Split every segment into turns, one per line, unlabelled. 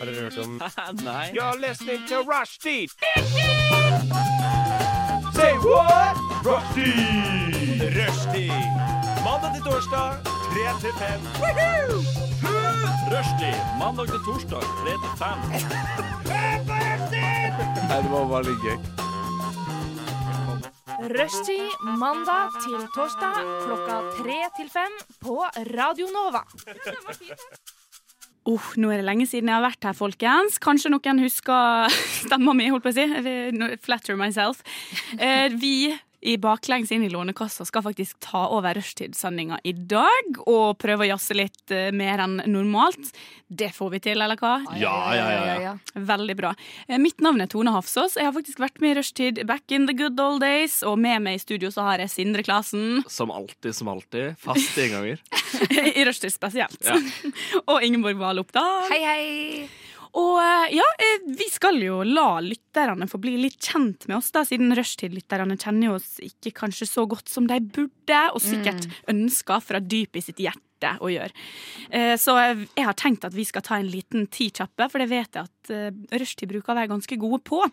Har dere hørt om
Nei.
You're listening to Rushdie. Say what? Rushdie. Rushdie. Mandag til torsdag, 3 til 5. Rushdie. Mandag til torsdag, 3 til 5.
Nei, det var bare litt gøy.
Rushtid mandag til torsdag klokka tre til fem på Radio Nova.
Oh, nå er det lenge siden jeg har vært her, folkens. Kanskje noen husker stemma mi, holdt på å si. Jeg vil Flatter myself. Eh, vi i Baklengs inn i Lånekassa skal faktisk ta over rushtidssendinga i dag og prøve å jazze litt eh, mer enn normalt. Det får vi til, eller hva?
Ja, ja, ja,
Veldig bra. Eh, Mitt navn er Tone Hafsås. Jeg har faktisk vært med i Rushtid back in the good old days. Og med meg i studio så har jeg Sindre Klasen.
Som alltid, som alltid. Fast gjenganger.
I Rushtid spesielt. og Ingeborg Wahl Oppdal.
Hei, hei.
Og eh, ja, eh, vi skal jo la lytterne få bli litt kjent med oss, da, siden rushtid-lytterne kjenner jo oss ikke kanskje så godt som de burde, og sikkert ønsker fra dypet i sitt hjerte å gjøre. Eh, Så eh, jeg har tenkt at vi skal ta en liten ti kjappe, for det vet jeg at eh, rushtid-brukere er ganske gode på.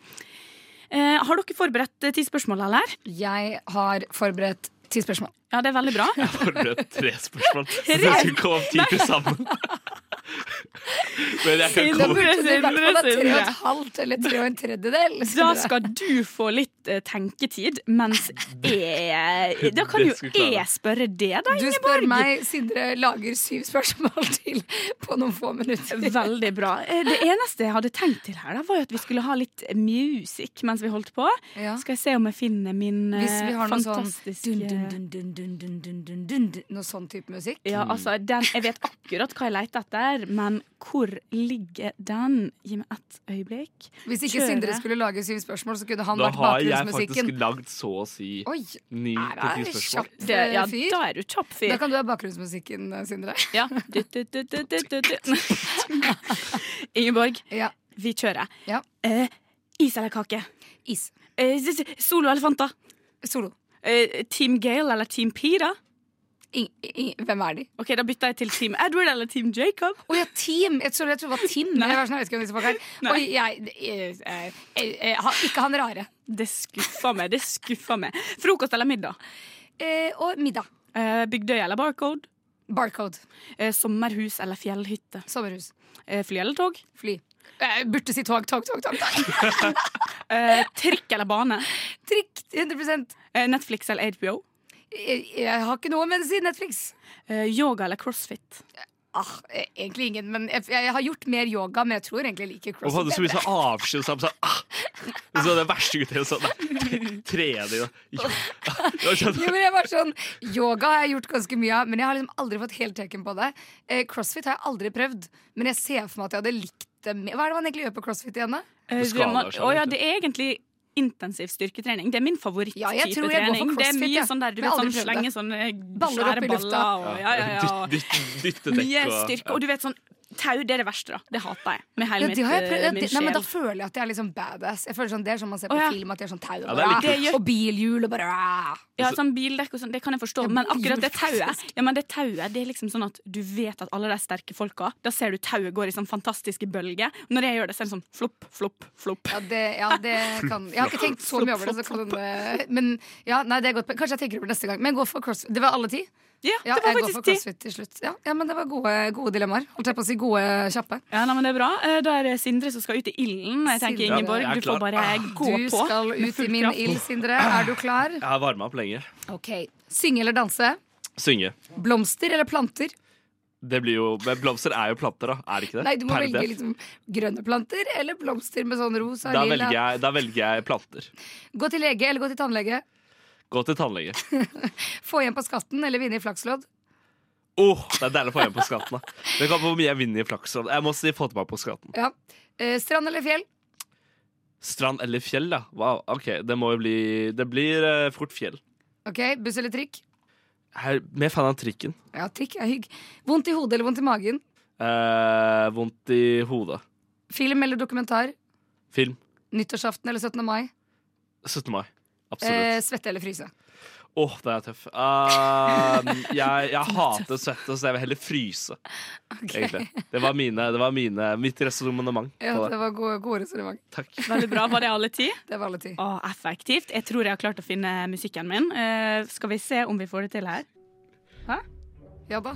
Eh, Har dere forberedt eh, ti spørsmål, eller?
Jeg har forberedt ti spørsmål.
Ja, det er veldig bra.
Jeg har forberedt tre spørsmål. Så det skulle komme opp ti til sammen. Men jeg kan
Siden-
Da
komme
burde du i hvert fall ha tre og
Sindre.
et halvt eller tre og en tredjedel.
Da
Sindre.
skal du få litt eh, tenketid, mens jeg Da kan
Det
jo
skal klare.
jeg spørre det, da,
Du
Ingeborg.
spør meg, Sindre lager syv spørsmål til på noen få minutter.
Veldig bra. Eh, Det eneste jeg hadde tenkt til her, da, var jo at vi skulle ha litt musikk mens vi holdt på.
Ja.
Skal jeg se om jeg finner min eh,
Hvis vi har noe sånn
fantastiske
dun, dun, dun, dun, dun, dun, dun, dun, dun, dun, Noe sånn type musikk.
Ja, altså, den, Jeg vet akkurat hva jeg leter etter, men hvor ligger den? Gi meg ett øyeblikk.
Hvis ikke
kjøre.
Sindre skulle lage syv spørsmål, så kunne han
Da
vært
har jeg faktisk
bakgrunnsmusikken.
lagd så å si
Oi,
ni til
er
ti
det
spørsmål.
kjapp eh,
Det, ja,
fyr?
da er du kjapp
Da
fyr.
kan du ha bakgrunnsmusikken, eh, Sindre.
Ja. Du, du, du, du, du, du, du. Ingeborg,
Ja.
vi kjører.
Ja.
Eh, is eller kake?
Is.
Eh, s- s- solo eller Fanta?
Solo.
Eh, Team Gale eller Team P, da?
Ing- ing- hvem er de?
Ok, Da bytter jeg til Team Edward eller Team Jacob.
Å ja, Team! Jeg tror jeg tror det var Tim.
Nei.
Jeg, var sånn, jeg vet ikke hvem disse folk er.
Nei.
Oi, jeg, eh, eh, eh, ha- ikke han rare.
Det skuffer meg. det skuffer meg Frokost eller middag?
Eh, og middag.
Eh, Bygdøy eller barcode?
Barcode.
Eh, sommerhus eller fjellhytte?
Sommerhus.
Eh, fly eller tog?
Fly. Eh, burde si tog, tog, tog. tog, tog.
Eh, trikk eller bane?
Trikk 100
Eh, Netflix eller HBO?
jeg, jeg har ikke noe, men si Netflix.
Eh, yoga eller crossfit?
Ah, eh, egentlig ingen, men jeg, jeg har gjort mer yoga, men jeg tror egentlig jeg liker
Og hadde
crossfit.
så mye sånn avsky og sånn sånn, ah. Så det verste ut er sånn nei, Trening og ja. Ja,
Jo,
sånn.
men jeg var sånn, yoga har jeg gjort ganske mye av, men jeg har liksom aldri fått helteken på det. Eh, crossfit har jeg aldri prøvd, men jeg ser for meg at jeg hadde likt det. mer. Hva er det man egentlig gjør på crossfit igjen, da?
Eh,
Skala
drømmer-
og skjønn,
Å ja,
vet du.
det er egentlig intensiv styrketrening. Det er min favoritt
Ja, jeg
type
tror jeg går for
trening. Det er
crossfit,
mye
jeg.
sånn der du
Men
vet, sånn,
aldri prøvd
slenge sånne
Baller opp i
svære
lufta.
baller og ja, ja, ja.
Dytt- dytt- Dytte
Mye
dekk og
styrke. Og du vet sånn Tau, det er det verste, da. Det hater jeg. Med hele
Ja,
mitt,
det har jeg prøvd.
eh,
Ja,
min
det, nei, men da
sjel.
føler jeg at jeg er liksom badass. Jeg føler sånn, Det er sånn man ser på
Å, ja.
film, at de har sånn tau og,
Ja, det er
bare,
litt
kult.
ah, og bilhjul og bare ah.
Ja, sånn bildekk og sånn, det kan jeg forstå,
Ja,
men akkurat det
bildekk,
tauet
faktisk.
Ja, men det tauet, det er liksom sånn at du vet at alle de sterke folka Da ser du tauet går i sånn fantastiske bølger. Når jeg gjør det, så er det sånn flopp, flopp, flopp.
Ja, det, ja, det kan Jeg har ikke tenkt så mye over det. Så kan, eh, men ja, nei, det er godt poeng. Kanskje jeg tenker over det neste gang. Men gå for crossfit. Det var alle ti?
Ja,
Ja,
det var
jeg går for
faktisk det.
crossfit til slutt. Ja, ja men det var gode, gode dilemmaer. Holdt jeg på å si gode kjappe.
Ja, nei, men det er bra. Eh, Da er det Sindre som skal ut i ilden. Jeg tenker,
Sindre. Ah,
Ingeborg,
Ja, jeg er
du
klar.
får bare gå
Du
på.
skal
med
ut
full
i min
kraft.
ild, Sindre. Er du klar?
Jeg har varma opp lenge.
Ok. Synge eller danse?
Synge.
Blomster eller planter?
Det blir jo, men blomster er jo planter, da. Er det ikke det?
Nei, du må
Per
velge
def.
liksom grønne planter eller blomster med sånn rosa,
da, velger
lilla.
jeg, da velger jeg planter.
Gå til lege eller gå til tannlege.
Gå til tannlege.
Få igjen på skatten eller vinne i flakslodd?
Oh, det er deilig å få igjen på skatten. da Det kommer på hvor mye jeg vinner i flakslodd. Jeg må si få tilbake på skatten.
Ja. Eh, strand eller fjell?
Strand eller fjell, da? Wow, ok, Det må jo bli Det blir eh, fort fjell.
Ok, Buss eller trikk?
Jeg er mer fan av trikken.
Ja, trikk er hygg. Vondt i hodet eller vondt i magen?
Eh, vondt i hodet.
Film eller dokumentar?
Film.
Nyttårsaften eller 17. mai?
17. mai.
Eh,
Absolutt.
svette eller fryse?
Åh, da er jeg tøff. Um, jeg jeg hater svette, så jeg vil heller fryse. Egentlig. Det var, mine, det var mine, mitt resonnement.
Ja,
på det.
det var gode, gode resonnement.
Takk.
Veldig bra. Var det alle ti?
Det var alle ti.
Å, effektivt. Jeg tror jeg har klart å finne musikken min. Eh, skal vi se om vi får det til her?
Ja da.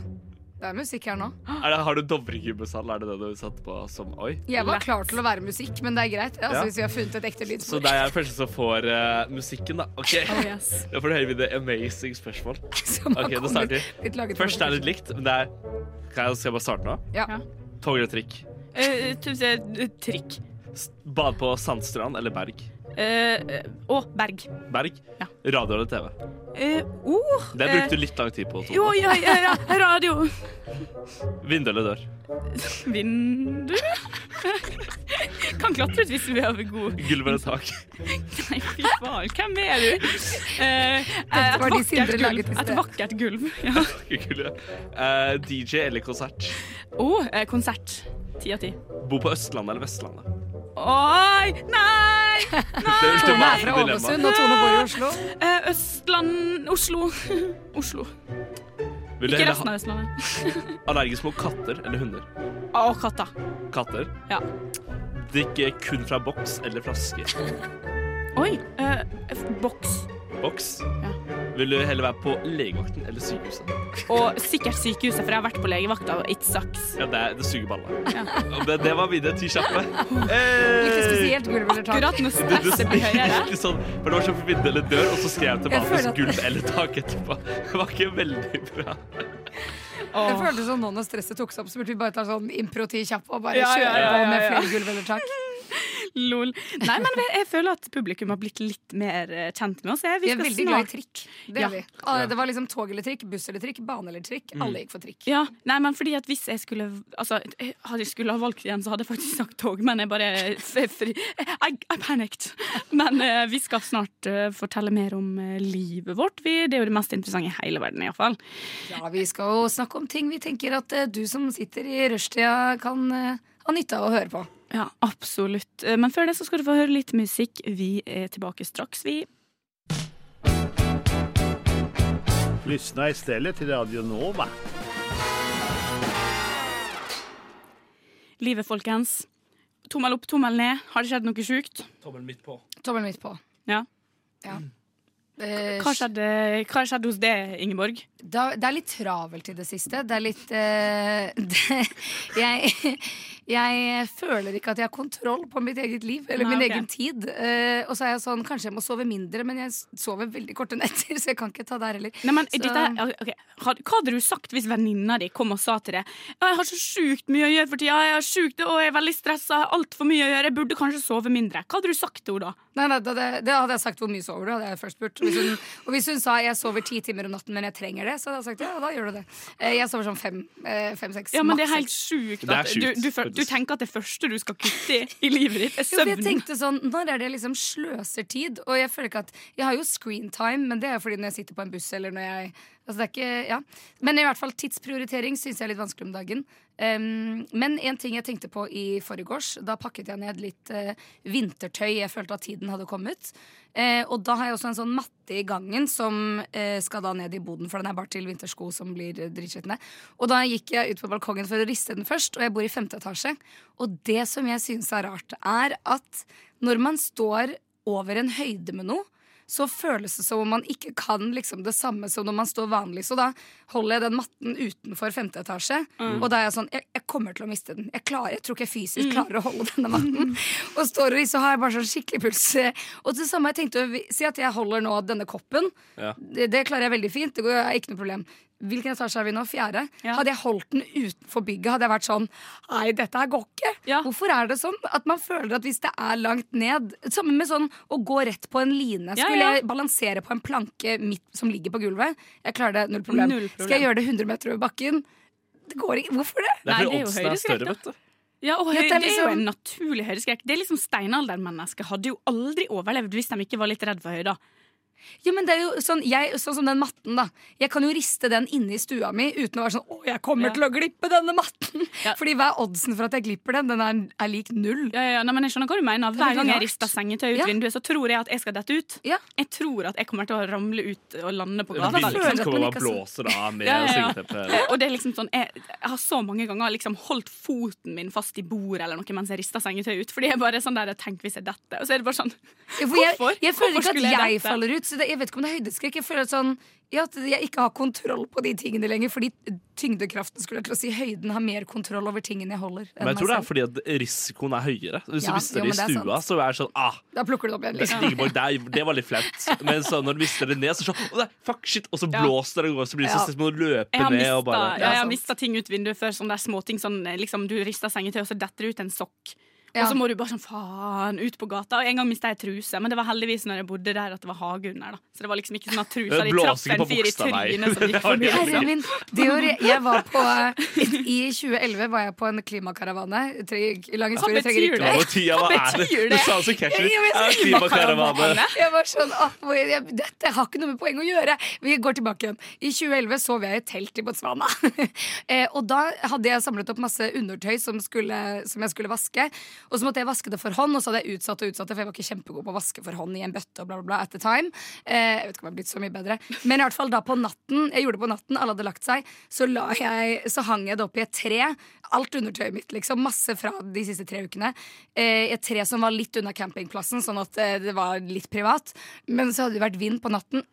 Det er musikk her nå.
Er det, har du Dovregubbesal? Er det det du satte på som Oi?
Jeg var klar til å være musikk, men det er greit. Altså,
Ja.
Hvis vi har funnet et ekte
Så
lydspor.
det er jeg den første som får eh, musikken, da. Ok,
Oh,
Da får du høre videre amazing spørsmål.
som har
Ok, da
kommet
starter vi.
litt laget på
Først er det litt likt, men det er Kan jeg, skal jeg bare starte nå?
Ja.
Ja.
Tog eller trikk?
Eh, tu- eh, trikk.
S- Bade på sandstrand eller berg?
Eh, eh, Å, Berg.
Berg?
Ja.
Radio eller TV?
Eh, oh,
Det
eh,
brukte du litt lang tid på. Tone.
Jo, ja, ja, ja, radio.
Vindu eller dør?
Vindu? Kan klatre ut hvis vi har god
Gulv eller tak?
Nei, fy faen, hvem er du? Eh, et,
var de Sindre
vakkert
laget
gulv.
i
et
sted.
vakkert gulv. Ja.
Gulv, ja. Eh, DJ eller konsert?
Å, eh, konsert. Ti av ti.
Bo på Østlandet eller Vestlandet?
Oi! Nei!
Det er
Tone er
ultimate
fra
dilemma.
Ålesund, og Tone bor i Oslo.
Eh, Østland Oslo. Oslo.
Vil du
Ikke
heller ha
resten av Østlandet.
allergisk mot katter eller hunder?
Å, katta.
Katter?
Ja.
Drikke kun fra boks eller flaske?
Oi. eh, f- boks.
Boks?
Ja.
Vil du heller være på legevakten eller sykehuset?
Og sikkert sykehuset, for jeg har vært på legevakta, og it sucks.
Ja, det, er- det suger baller. Det, det var videre til kjappe. Hey!
Ikke spesielt gulv eller tak.
Akkurat når
Du, du
stresset blir høyere.
spilte sånn, for det var sånn vindu eller dør, og så skrev jeg
Jeg
tilbake
føler at-
gulv eller tak etterpå. Det var ikke veldig bra.
Det
Åh.
føltes som nå når stresset tok seg opp, så burde vi bare ta sånn impro ti kjapp og bare
Ja,
kjøre
ja, ja,
på med
ja, ja.
flere gulv eller tak.
Lol. Nei, men jeg- jeg føler at publikum har blitt litt mer eh, kjent med oss. Jeg,
Vi er
skal
veldig glad i
snart-
trikk. Det,
Ja.
er vi. Ah, det var liksom tog eller trikk, buss eller trikk, bane eller trikk. Alle gikk for trikk.
Ja, nei, men fordi at hvis jeg skulle Altså, jeg hadde jeg skulle ha valgt igjen, så hadde jeg faktisk sagt tog, men jeg bare f- fri, I, I panicked. Men eh, vi skal snart eh, fortelle mer om eh, livet vårt. Vi, det er jo det mest interessante i hele verden, iallfall.
Ja, Vi skal jo snakke om ting vi tenker at eh, du som sitter i rushtida, kan eh, ha nytte av å høre på.
Ja, absolutt. Eh, Men før det så skal du få høre litt musikk. Vi er tilbake straks, vi.
Lyssna istället till Radio Nova.
Livet, folkens. Tommel opp, tommel ned. Har det skjedd noe sjukt?
Tommelen midt på.
Tommelen midt på.
Ja.
Ja. Eh,
Hva skjedde, hva skjedde hos deg, Ingeborg?
da, det er litt travelt i det siste. Det er litt eh, det, jeg, jeg føler ikke at jeg har kontroll på mitt eget liv eller
Nei,
min
ok.
egen tid. Eh, og så er jeg sånn, kanskje jeg må sove mindre, men jeg sover veldig korte netter, så jeg kan ikke ta der heller.
Nei, men
Så-
dette, er- ok, had- Hva hadde du sagt hvis venninna di kom og sa til deg «Å, Jeg har så sjukt mye å gjøre for tida, jeg er sjukt, og jeg er veldig stressa, jeg har altfor mye å gjøre, jeg burde kanskje sove mindre. Hva hadde du sagt til henne da?
Nei, nei, da- det, det hadde jeg sagt hvor mye sover du, hadde jeg først spurt. Og Hvis hun, og hvis hun sa jeg sover ti timer om natten, men jeg trenger det, så hadde jeg sagt ja, da gjør du det. Eh, Jeg sover sånn fem-seks. Fem, seks,
Ja, men Det
maks
er helt
seks.
sjukt.
Det er
At du,
sjukt,
du, fø- du
faktisk.
tenker at det første du skal kutte i i livet ditt, er
Jo, for jeg
søvn.
tenkte sånn, Når er det jeg liksom sløser tid? Og jeg føler ikke at Jeg har jo screen time, men det er jo fordi når jeg sitter på en buss eller når jeg Altså det er ikke, ja Men i hvert fall tidsprioritering syns jeg er litt vanskelig om dagen. Um, men en ting jeg tenkte på i forgårs, da pakket jeg ned litt eh, vintertøy. Jeg følte at tiden hadde kommet. Eh, og da har jeg også en sånn matte i gangen som eh, skal da ned i boden, for den er bare til vintersko som blir eh, dritskitne. Og da gikk jeg ut på balkongen for å riste den først, og jeg bor i femte etasje. Og det som jeg synes er rart, er at når man står over en høyde med noe, så føles det som om man ikke kan liksom det samme som når man står vanlig. Så da holder jeg den matten utenfor femte etasje, og da er jeg sånn jeg, jeg kommer til å miste den. Jeg, klarer, jeg tror ikke jeg fysisk klarer å holde denne matten. Og står og så har jeg bare sånn skikkelig puls. Og det samme jeg tenkte å vi- Si at jeg holder nå denne koppen.
Ja.
Det, det klarer jeg veldig fint. Det går, er ikke noe problem. Hvilken etasje er vi nå? Fjerde?
Ja.
Hadde jeg holdt den utenfor bygget, hadde jeg vært sånn Nei, dette her går ikke.
Ja.
Hvorfor er det sånn at man føler at hvis det er langt ned Sammen med sånn å gå rett på en line.
Ja,
Skulle
ja.
jeg balansere på en planke midt, som ligger på gulvet? Jeg klarer det, null problem.
Null problem.
Skal jeg gjøre det 100 meter over bakken? Det går ikke. Hvorfor det?
Det er
Nei,
fordi
det er jo
oddsen er
høydeskrekk, da.
større, vet du.
Ja, og
Ja,
høy,
det
det,
er
er jo
liksom-
en naturlig høydeskrekk. Det er liksom Steinaldermennesker hadde jo aldri overlevd hvis de ikke var litt redd for høyder.
Ja, men det er jo sånn, jeg, sånn som den matten, da. Jeg kan jo riste den inne i stua mi uten å være sånn 'Å, jeg kommer
Ja.
til å glippe denne matten'.
Ja.
Fordi hva er oddsen for at jeg glipper den? Den er, er lik null.
Ja, ja, ja, nei, men jeg skjønner hva du mener.
Det er
Hver
veldig
gang jeg
rart.
rister sengetøy ut
Ja.
vinduet, så tror jeg at jeg skal dette ut.
Ja.
Jeg tror at jeg kommer til å ramle ut og lande på
Vinduet
gata.
Vinduet
Liksom.
føler at
kommer
man
og
ikke
bare
har
blåser av med
Ja, ja, ja.
syngeteppe.
Og det er liksom sånn, jeg, jeg har så mange ganger liksom holdt foten min fast i bordet eller noe mens jeg rister sengetøy ut. Fordi jeg bare er sånn der, tenk hvis jeg detter. Og så er det bare sånn
Ja, for jeg,
Hvorfor?
jeg føler
Hvorfor
ikke at
skulle
jeg,
jeg dette?
faller ut. Så det, jeg vet ikke om det er høydeskrekk. Jeg føler at, sånn, ja, at jeg ikke har kontroll på de tingene lenger. Fordi tyngdekraften skulle jeg til å si høyden har mer kontroll over tingene jeg holder. enn
Men jeg
meg
tror det er
selv.
fordi at risikoen er høyere. Hvis
Ja,
du mister
jo,
det i
men det er
stua, så er det sånn ah,
Da plukker du det opp igjen. Liksom.
Ingeborg, det, det var litt flaut. Men så når du mister det ned, så er det sånn «Å, nei, fuck shit, og så
Ja.
blåser det og går, så blir det
Ja.
sånn som å
Jeg
løpe
har
ned og
mista,
bare
ja, jeg har
sant.
mistet ting ut vinduet før, sånne der småting sånn eh, liksom, Du rister sengetøy, og så detter det ut en sokk.
Ja.
Og så må du bare sånn faen ut på gata. Og en gang mista jeg truse, men det var heldigvis når jeg bodde der at det var hage under. da Så det var liksom ikke sånn at trusa
Det
di
blåser
traff
ikke
en
på
fyr i
buksa, nei.
trynet som
Det
gikk
var
forbi.
det jeg
liksom.
Herre min, det året jeg- jeg var på eh, I 2011 var jeg på en klimakaravane. Tre, lang historie, trenger
betyr
ikke
det?
Hva betyr hva er det?
Betyr
Du
det?
sa det så catchy.
Ja, men
Ja,
så-
Klimakaravane.
Jeg var sånn, «Åh, hvor- jeg, Dette har ikke noe med poeng å gjøre. Vi går tilbake igjen. I 2011 sov jeg i et telt i Botswana. eh, og da hadde jeg samlet opp masse undertøy som, skulle, som jeg skulle vaske. Og så måtte jeg vaske det for hånd, og så hadde jeg utsatt og utsatt det, for jeg var ikke kjempegod på å vaske for hånd i en bøtte og bla, bla, bla at the time. Eh, jeg vet ikke om jeg har blitt så mye bedre. Men i hvert fall da på natten, jeg gjorde det på natten, alle hadde lagt seg, så, la jeg, så hang jeg det opp i et tre. Alt undertøyet mitt, liksom. Masse fra de siste tre ukene. Eh, et tre som var litt unna campingplassen, sånn at eh, det var litt privat. Men så hadde det vært vind på natten.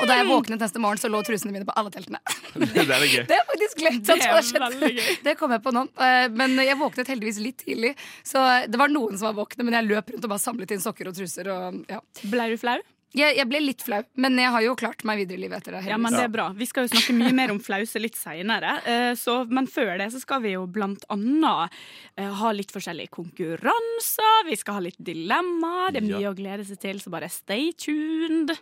Og da jeg våknet neste morgen, så lå trusene mine på alle teltene.
Det er litt gøy.
Det har jeg faktisk glemt. at
Det er
har skjedd.
veldig gøy.
Det kom jeg på nå. Eh, Men jeg våknet heldigvis litt tidlig, så det var noen som var våkne. Men jeg løp rundt og bare samlet inn sokker og truser. Og, ja.
Ble du flau?
jeg, jeg ble litt flau, men jeg har jo klart meg videre i livet etter det.
Ja, men
heldigvis.
det er bra. Vi skal jo snakke mye mer om flause litt seinere. Men før det så skal vi jo blant annet eh, ha litt forskjellige konkurranser. Vi skal ha litt dilemmaer. Det er mye
Ja.
å glede seg til, så bare stay tuned.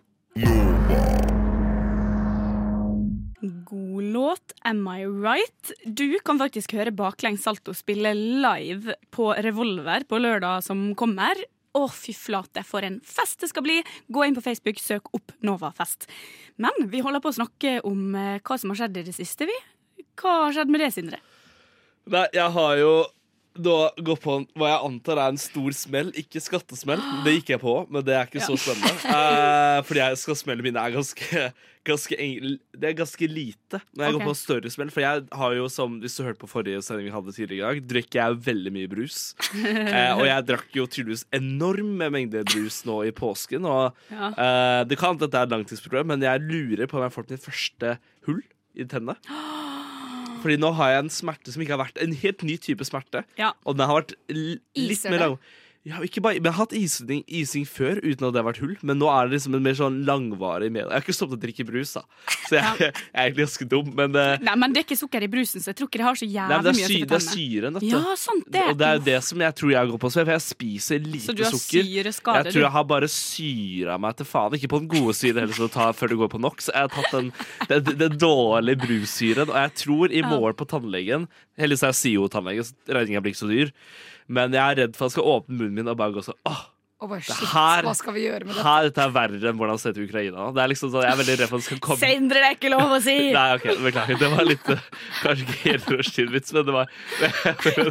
God låt, Am I Right? Du kan faktisk høre Baklengs Salto spille live på Revolver på lørdag som kommer. Å, fy flate, for en fest det skal bli! Gå inn på Facebook, søk opp Novafest. Men vi holder på å snakke om eh, hva som har skjedd i det siste, vi. Hva har skjedd med det, Sindre?
Nei, jeg har jo da gått på en, hva jeg antar er en stor smell, ikke skattesmell. Det gikk jeg på, men det er ikke så spennende. Eh, fordi jeg skal smelle mine er ganske, ganske eng- Det er ganske lite når jeg
Ok.
går på en større smell. For jeg har jo, som hvis du hørte på forrige sending vi hadde tidligere i dag, drikker jeg veldig mye brus. Eh, og jeg drakk jo tydeligvis enorme mengder brus nå i påsken. Og
Ja.
eh, det kan hende at dette er et langtidsproblem, men jeg lurer på om jeg har fått mitt første hull i tennene. Fordi nå har jeg en smerte som ikke har vært En helt ny type smerte.
Ja.
Og den har vært l- litt
Iser
mer
det?
lang. Ja, ikke bare, men jeg har hatt ising, ising før uten at det har vært hull, men nå er det liksom en mer sånn langvarig med. Jeg har ikke stoppet å drikke brus, da. Så jeg, jeg er egentlig ganske dum, men eh,
Nei, men det er ikke sukker i brusen, så jeg tror ikke det har så
nei,
jævlig
men det,
mye
er
å
sy, det
sitte
er
på med.
syren, vet du.
Ja, sant det!
Og det er jo det som jeg tror jeg går på smell, for jeg spiser lite
så du har
sukker.
syreskade,
Jeg
du.
tror jeg har bare syra meg til faen. Ikke på den gode siden heller, som du tar før du går på NOx. Jeg har tatt den, den, den dårlige brussyren. Og jeg tror i morgen på tannlegen Heldigvis er jeg SIO-tannlege, så regninga blir ikke så dyr. Men jeg er redd for at jeg skal åpne munnen min og bare gå sånn Åh,
Og bare, shit,
her-
hva skal vi gjøre med det?
her, dette er verre enn hvordan det ser ut i Ukraina. Det er liksom sånn, Jeg er veldig redd for at det skal komme
Sindre, det er ikke lov å si!
Nei, ok, beklager. Det var litt eh, Kanskje ikke helt rushtid-vits, men det var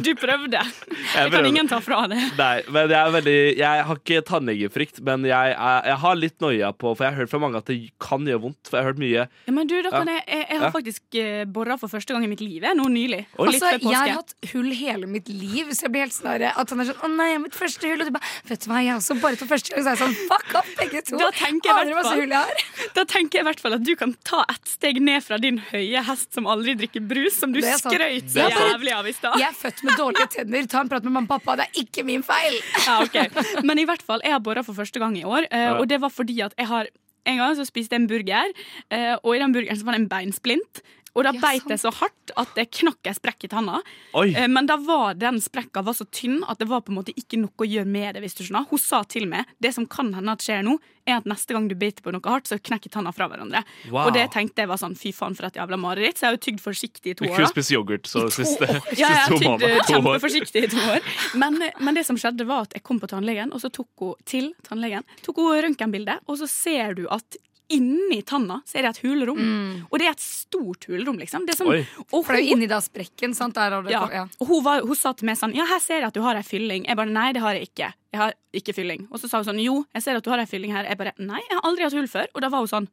Du prøvde.
jeg
Det kan
prøvde.
ingen ta fra deg.
Nei, men jeg, er veldig, jeg har ikke tannlegefrykt, men jeg, er, jeg har litt noia på For jeg har hørt fra mange at det kan gjøre vondt. For jeg har hørt mye
Ja, men du, da kan
Ja.
jeg, jeg, jeg har
Ja.
faktisk uh, borra for første gang i mitt liv jeg, nå nylig.
Oi.
Litt
Altså,
før
jeg har
påske.
hatt hull hele mitt liv, så jeg blir helt snarere at han er sånn 'Å nei, jeg har mitt første hull', og du bare 'Vet du hva, jeg har også bare for første gang', så er jeg sånn 'Fuck opp, begge to'.
Da tenker jeg i
Aner du
hvert
hva slags
fall.
hull jeg har?
Da tenker jeg i hvert fall at du kan ta ett steg ned fra din høye hest som aldri drikker brus, som du
Det er sant.
skrøt
Det
så
er sant.
jævlig av i stad.
Jeg er født med dårlige tenner. Ta en prat med mamma og pappa, det er ikke min feil.
Ja, ok. Men i hvert fall, jeg har bora for første gang i år, eh,
Ja.
og det var fordi at jeg har en gang så spiste jeg en burger, eh, og i den burgeren så var det en beinsplint. Og da
Ja,
beit
sant.
jeg så hardt at det knakk en sprekk i tanna.
Oi!
Eh, Men da var den sprekka var så tynn at det var på en måte ikke noe å gjøre med det. hvis du skjønner. Hun sa til meg det som kan hende at skjer nå, er at neste gang du biter på noe hardt, så knekker tanna fra hverandre.
Wow.
Og det tenkte jeg var sånn fy faen for et jævla mareritt, så jeg har jo tygd forsiktig i to
Du
år.
kunne
da.
spise yoghurt så siste, siste
Ja, jeg har
to
tygd eh,
måneder. To år.
kjempeforsiktig i to år. Men, eh, men det som skjedde var at jeg kom på tannlegen, og så tok hun til tannlegen, tok hun røntgenbilde, og så ser du at inni tanna så er det et hulrom. Og det er et stort hulrom, liksom. Det er sånn,
Oi.
og
For det er jo
hun,
inni da sprekken. sant? Der har du,
ja,
ja.
og hun, var, hun sa til meg sånn Ja, her ser jeg at du har ei fylling. Jeg bare nei, det har jeg ikke. Jeg har ikke fylling. Og så sa hun sånn jo, jeg ser at du har ei fylling her. Jeg bare nei, jeg har aldri hatt hull før. Og da var hun sånn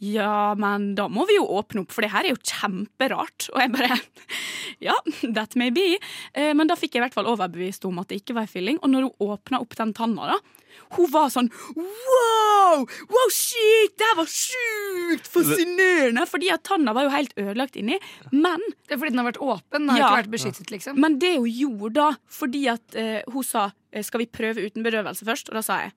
ja, men da må vi jo åpne opp, for det her er jo kjemperart. Og jeg bare Ja, that may be. Eh, Men da fikk jeg i hvert fall overbevist om at det ikke var en fylling. Og når hun åpna opp den tanna, da hun var sånn Wow! Wow, shit! Det her var sjukt fascinerende! Fordi at tanna var jo helt ødelagt inni. Men,
Det er fordi den har vært åpen. Den har
Ja.
ikke vært beskyttet, liksom.
men det hun gjorde da, fordi at eh, hun sa eh, Skal vi prøve uten bedøvelse først? Og da sa jeg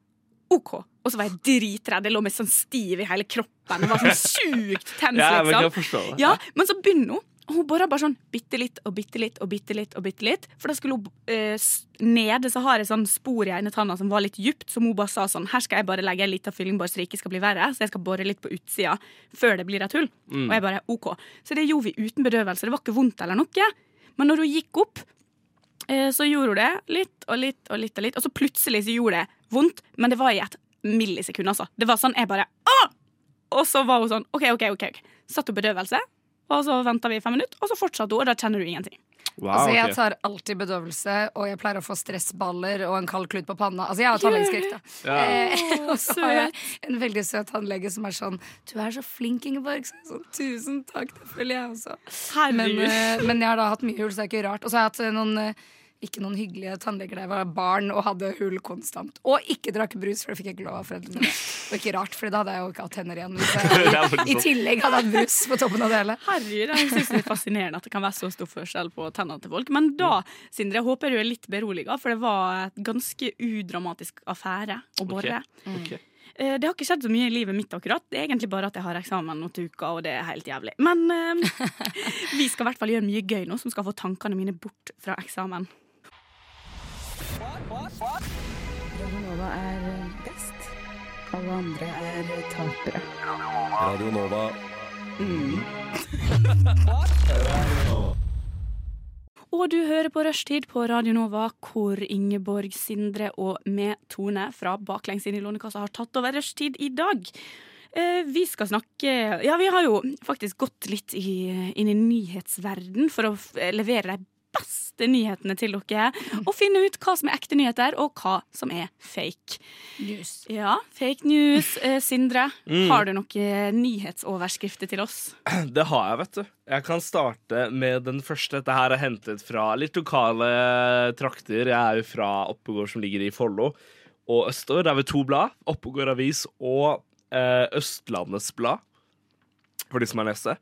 OK. Og så var jeg dritredd. Jeg lå med sånn stiv i hele kroppen. Det var sånn sjukt
Ja,
tens,
men jeg
liksom.
kan forstå det.
Ja, men så begynner hun. Og hun borer bare sånn bitte litt og bitte litt og bitte litt. og bitte litt For da skulle hun eh, s- nede, så har jeg sånn spor i ene tanna som var litt djupt, som hun bare sa sånn Her skal jeg bare legge en liten fylling bare så det ikke skal bli verre. Så jeg skal bore litt på utsida før det blir et hull. Og jeg bare OK. Så det gjorde vi uten bedøvelse. Det var ikke vondt eller noe. Men når hun gikk opp, eh, så gjorde hun det litt og litt og litt og litt. Og så plutselig så gjorde det vondt, men det var i et millisekund, altså. Det var sånn jeg bare Å! Og så var hun sånn OK, OK, OK. ok. Satt hun bedøvelse, og så venta vi fem minutter, og så fortsatte hun, og da kjenner du ingenting.
Wow,
Altså,
Ah, ok.
Jeg tar alltid bedøvelse, og jeg pleier å få stressballer og en kald klut på panna. Altså, jeg har tannlegeskrekk, da. Eh, og så har jeg en veldig søt tannlege som er sånn Du er så flink, Ingeborg. Så jeg sånn, Tusen takk, det føler jeg også. Men,
Herregud.
eh, men jeg har da hatt mye hull, så det er ikke rart. Og så har jeg hatt eh, noen eh, ikke noen hyggelige tannleger da jeg var barn og hadde hull konstant. Og ikke drakk brus, for det fikk jeg ikke lov av foreldrene mine. Det var ikke rart, for da hadde jeg jo ikke hatt tenner igjen. Hvis
Det
jeg,
er faktisk
I
sånn.
tillegg hadde jeg hatt brus på toppen av det hele.
Herregud, jeg synes det er fascinerende at det kan være så stor forskjell på tennene til folk. Men da, Sindre, jeg håper du er litt beroliga, for det var et ganske udramatisk affære å bore.
Ok.
Eh, Det har ikke skjedd så mye i livet mitt akkurat. Det er egentlig bare at jeg har eksamen nå til uka, og det er helt jævlig. Men eh, vi skal i hvert fall gjøre mye gøy nå, som skal få tankene mine bort fra eksamen.
Radio Nova.
Og du hører på Rushtid på Radio Nova, hvor Ingeborg, Sindre og med Tone fra Baklengs inn i Lånekassa har tatt over Rushtid i dag. Eh, Vi skal snakke Ja, vi har jo faktisk gått litt i, inn i nyhetsverden for å f- eh, levere de beste nyhetene til dere. Og finne ut hva som er ekte nyheter, og hva som er fake. Ja, fake news. Eh, Sindre,
Mm.
har du noen nyhetsoverskrifter til oss?
Det har jeg, vet du. Jeg kan starte med den første. Dette her er hentet fra litt lokale trakter. Jeg er jo fra Oppegård, som ligger i Follo og Østår. Det er ved to blad. Oppegård Avis og eh, Østlandets Blad, for de som har lest det.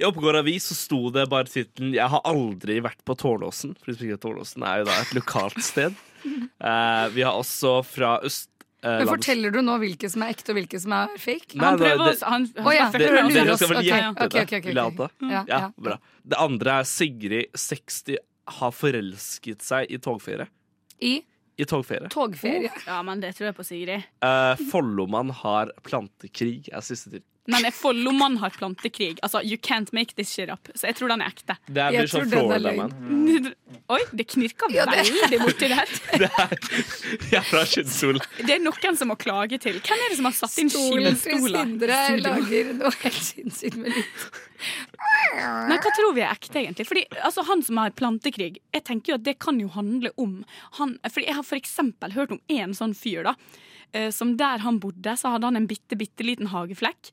I Oppegård Avis så sto det bare tittelen 'Jeg har aldri vært på Tårnåsen'. For de som ikke vet, Tårnåsen er jo da et lokalt sted. Eh, vi har også fra Øst... eh,
Men
lands-
forteller du nå hvilke som er ekte, og hvilke som er fake?
Nei,
Han
det-
prøver
det-
oss han, han
Å ja,
skal
det-
følge med
dere
oss.
dere
lurer oss.
skal vel
Ok,
gjette
ok,
det.
ok, ok,
Vil jeg
ok.
anta?
Ja,
Ja,
ja.
bra. Det andre er Sigrid, 60, har forelsket seg i togferie.
I
I togferie.
togferie.
Ja, men det tror jeg på, Sigrid.
Eh, Follomann har plantekrig, er siste til.
Men jeg Follomann har plantekrig. Altså, You can't make this shit up. Så jeg tror den er ekte.
Det
Jeg
blir sånn
tror den er
Florida Man.
Oi, det knirker
Mm. Ja, det-
veldig borti der.
Det er jævla kjønnshol.
Det er noen som må klage til. Hvem er det som har satt inn
Stolen til
skinnstoler?
Sindre lager noe helt sinnssykt med lyd.
Nei, Hva tror vi er ekte, egentlig? Fordi altså, Han som har plantekrig, jeg tenker jo at det kan jo handle om han, Fordi Jeg har for eksempel hørt om en sånn fyr da eh, som der han bodde, så hadde han en bitte, bitte liten hageflekk.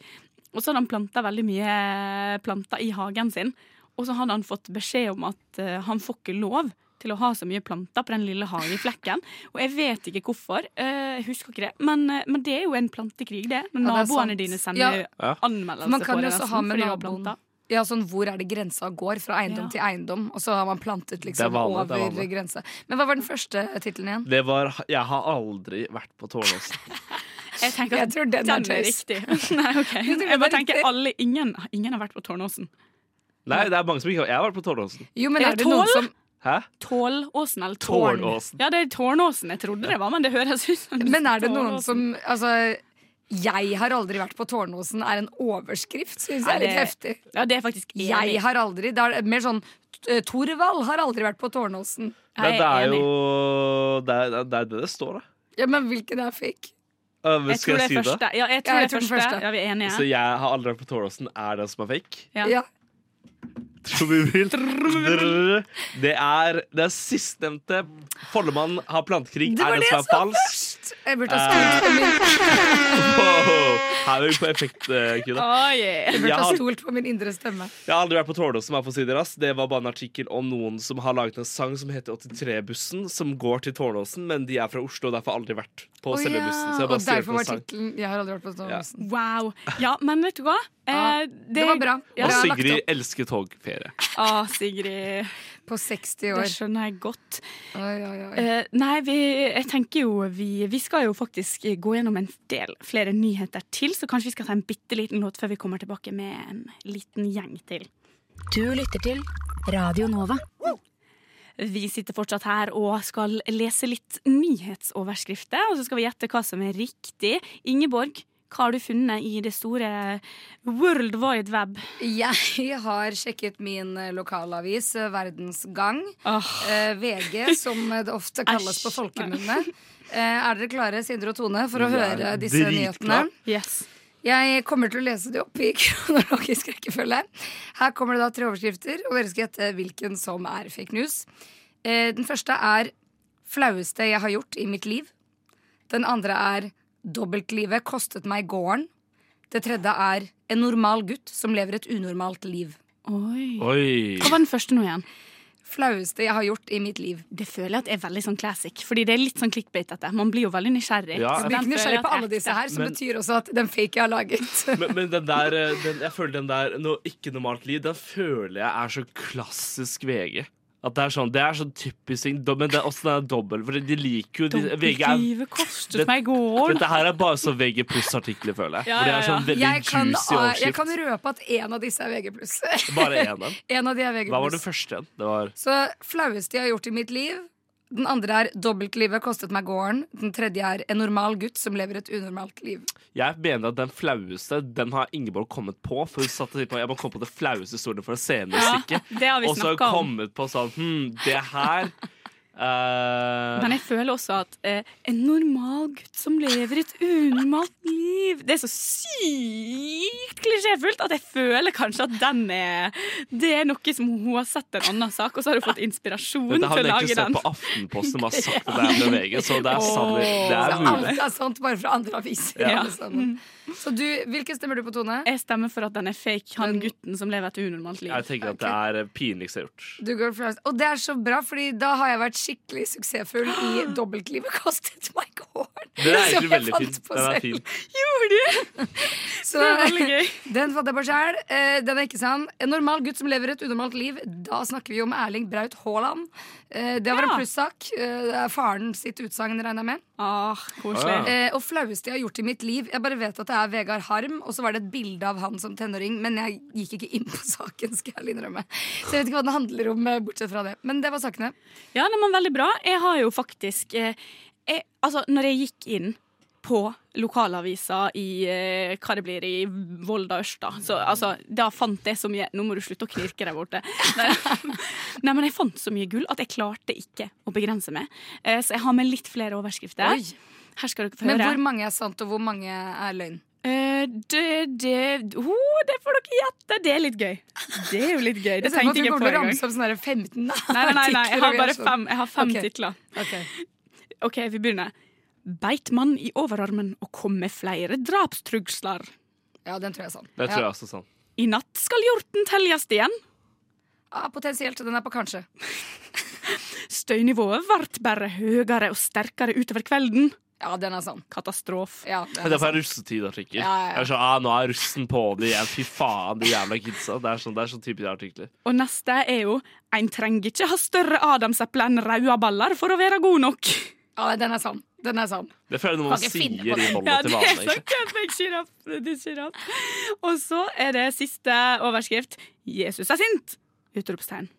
Og så hadde han planta veldig mye eh, planter i hagen sin. Og så hadde han fått beskjed om at eh, han får ikke lov til å ha så mye planter på den lille hageflekken. Og jeg vet ikke hvorfor. eh, Jeg husker ikke det. Men, eh, men det er jo en plantekrig, det. Når
Ja, det er
naboene
sant.
dine
Ja.
sender
Ja.
anmeldelse
Man kan
på
jo
det.
også
nesten,
ha med
fordi du har
naboen.
planter.
Ja, sånn Hvor er det grensa går? Fra eiendom
Ja.
til eiendom. Og så har man plantet
Det er
liksom
vanlig, det er
over
vanlig.
grensa. Men hva var den første tittelen igjen?
Det var 'Jeg har aldri vært på Tårnåsen'.
Jeg tenker
Jeg
at
tror den
den
er
er
tøys.
riktig. Nei, ok.
tror den
Jeg bare
er riktig.
tenker alle, ingen, ingen har vært på Tårnåsen.
Nei, det er mange som ikke har Jeg har vært på Tårnåsen.
Jo, men
Er
er
det
det noen
tolv?
som
Hæ?
Tålåsen eller Tårn?
Tårnåsen.
Ja, det er Tårnåsen. Jeg trodde det var, men det høres ut som
Men er det noen
Tårnåsen.
som Altså, jeg har aldri vært på Tårnåsen er en overskrift, syns jeg
Nei,
er litt heftig.
det- Ja, det er faktisk enig.
Jeg har aldri. Det er mer sånn eh, Torvald har aldri vært på Tårnåsen.
Det,
Jeg
det
er
er
enig.
jo Det er det, er det det står, da.
Ja, men hvilken er fake?
Øh, men
Jeg tror
skal
det
jeg
er
si det?
første. Ja, jeg tror
Ja,
det
jeg
er
tror den
første.
første.
Ja, vi er enige.
Så jeg har aldri vært på Tårnåsen. Er det som er fake?
Ja.
Ja.
Tror vi vil. Drrrr. Det er det er sistnevnte. Follemann har plantekrig.
Det
Er
var
det
det
som
jeg
er
sa
falskt?
først! Jeg burde
Eh,
ha stolt på min,
Wow. Her er vi på effekt, eh,
Ah.
Kuna.
Å, yeah.
jeg
Jeg
burde ha
har-
stolt på min indre stemme.
Jeg har aldri vært på Tårnåsen. her for å si Det raskt. Det var bare en artikkel om noen som har laget en sang som heter 83-bussen, som går til Tårnåsen, men de er fra Oslo og derfor aldri vært på
Å
selve
ja,
bussen. Så jeg har
Og
bare skrevet
derfor
en
var
sang.
tittelen 'Jeg har aldri vært på Tårnåsen'.
Wow. Ja, men vet du hva? Eh,
Ja, Ah, det var bra.
Ja.
Og
Bra. lagt
Sigrid
opp.
elsker togferie.
Å, Sigrid.
På 60
Det
år.
skjønner jeg godt.
Oi, oi, oi.
Eh, nei, vi, jeg tenker jo vi, vi skal jo faktisk gå gjennom en del flere nyheter til, så kanskje vi skal ta en bitte liten låt før vi kommer tilbake med en liten gjeng til.
Du lytter til Radio Nova.
Vi sitter fortsatt her og skal lese litt nyhetsoverskrifter, og så skal vi gjette hva som er riktig. Ingeborg, hva har du funnet i det store world wide web?
Jeg har sjekket min eh, lokalavis, eh, Verdens Gang.
Åh,
Eh, VG, som eh, det ofte kalles på
Æsj.
folkemunne. Eh, er dere klare, Sindre og Tone, for å
Vi er
høre disse
dritklar.
nyhetene?
yes.
Jeg kommer til å lese de opp i kronologisk rekkefølge. Her kommer det da tre overskrifter, og dere skal gjette hvilken som er fake news. Eh, Den første er 'flaueste jeg har gjort i mitt liv'. Den andre er 'dobbeltlivet kostet meg gården'. Det tredje er 'en normal gutt som lever et unormalt liv'.
Oi.
Oi.
Hva var den første nå igjen?
Flaueste jeg har gjort i mitt liv.
Det føler jeg at er veldig sånn classic, fordi det er litt sånn clickbait dette. Man blir jo veldig nysgjerrig.
Ja.
Så den
Jeg blir ikke
føler jeg
nysgjerrig på
at er
alle disse
ekte.
her, som
Men-
betyr også at den fake jeg har laget.
Men, men den der, eh, den, jeg føler den der no, ikke normalt liv, den føler jeg er så klassisk VG. At det er sånn, det er sånn typisk ting. do- Men det er også den er dobbel, for de liker jo de, VG er,
Dobbeltlivet kostet
Det-
meg i gården.
Dette her er bare sånn VG pluss-artikler, føler jeg.
Ja,
For det er
ja, ah, ja.
sånn veldig
Jeg kan, eh,
juicy
jeg kan
overskrift.
røpe at én av disse er VG+.
Bare én av dem.
En av de er VG+.
Hva var den første igjen? Det var
Så flaueste jeg har gjort i mitt liv. Den andre er dobbeltlivet kostet meg gården. Den tredje er en normal gutt som lever et unormalt liv.
Jeg mener at den flaueste Den har Ingeborg kommet på. For hun satt og tenkte på Jeg må komme på det flaueste historien for å se henne stikke.
Det har vi
Og så har hun
snakka om.
kommet på sånn Hm, det her eh,
Men jeg føler også at eh, en normal gutt som lever et unormalt liv Det er så sykt klisjéfullt at jeg føler kanskje at den er Det er noe som hun har sett en annen sak, og så har hun fått inspirasjon
Dette
til
har
å
hun egentlig
lage
sett
den.
på Aftenposten. Hva sagt det der med VG Så det er sannelig Det
Så
er mulig.
alt er sant, bare fra andre aviser.
Ja.
alle sammen. Så du, hvilken stemmer du på, Tone?
Jeg stemmer for at den er fake, han
Men-
gutten som lever et unormalt liv.
Jeg tenker at det er eh, pinligst jeg har gjort.
Du går flaust. Og det er så bra, Fordi da har jeg vært skikkelig suksessfull i dobbeltlivet kostet meg gården.
Den er
Som
egentlig
jeg
veldig
fant
fin.
på
Den er
selv.
fin.
Så
Det er veldig gøy.
den fant jeg på sjæl. Den er ikke sann. En normal gutt som lever et unormalt liv. Da snakker vi om Erling Braut Haaland. Eh, Det var
Ja.
en plussak. Eh, Det er faren sitt utsagn, regner jeg med.
Ah, koselig.
Ah.
Eh, Og flaueste jeg har gjort i mitt liv. Jeg bare vet at det er Vegard Harm, og så var det et bilde av han som tenåring, men jeg gikk ikke inn på saken, skal jeg ærlig innrømme. Så jeg vet ikke hva den handler om, eh, bortsett fra det. Men det var sakene.
Ja, nei, men veldig bra. Jeg har jo faktisk eh, jeg, Altså, når jeg gikk inn på lokalavisa i eh, hva det blir, i Volda øst, da. Så, altså, da fant jeg så mye Nå må du slutte å knirke der borte. Nei, nei, men jeg fant så mye gull at jeg klarte ikke å begrense meg. Eh, så jeg har med litt flere overskrifter.
Oi.
Her skal dere få
Men
høre.
hvor mange er sant, og hvor mange er løgn?
Eh, det, det, oh, det får dere gjette! Det er litt gøy. Det er jo litt gøy. Det
Jeg ser for meg at
tenkte
du
jeg ikke
kommer
på
til å
engang.
ramse opp sånne der 15
Nei, nei, nei, nei, jeg har bare
artikler, og
fem, jeg har fem
Ok.
titler.
Ok.
Ok, vi begynner. Beit mann i overarmen og kom med flere drapstrugsler.
Ja, den tror jeg er sann.
Det tror
Ja.
jeg også er sant.
I natt skal hjorten telles igjen.
Ja, potensielt. Den er på kanskje.
Støynivået vart bare høyere og sterkere utover kvelden.
Ja, den er sann.
Katastrofe.
Ja,
Men
den
Det
er
er fra
sann.
russetid-artikkel.
Ja, ja, ja.
Det er sånn, ah, Nå er russen på det igjen. Fy faen, de jævla kidsa. Det er sånn, det er sånn type de artikler.
Og neste er jo Ein trenger ikke ha større adamseple enn rauda baller for å være god nok.
Ja, den er sann. Den er sann.
Det føler jeg noe
Kan
man
ikke
sier
finne
i
på det.
Volda
Ja,
til
det er
vanlig.
så perfekt giraff. Det er giraff. Og så er det siste overskrift. Jesus er sint! Utropstegn.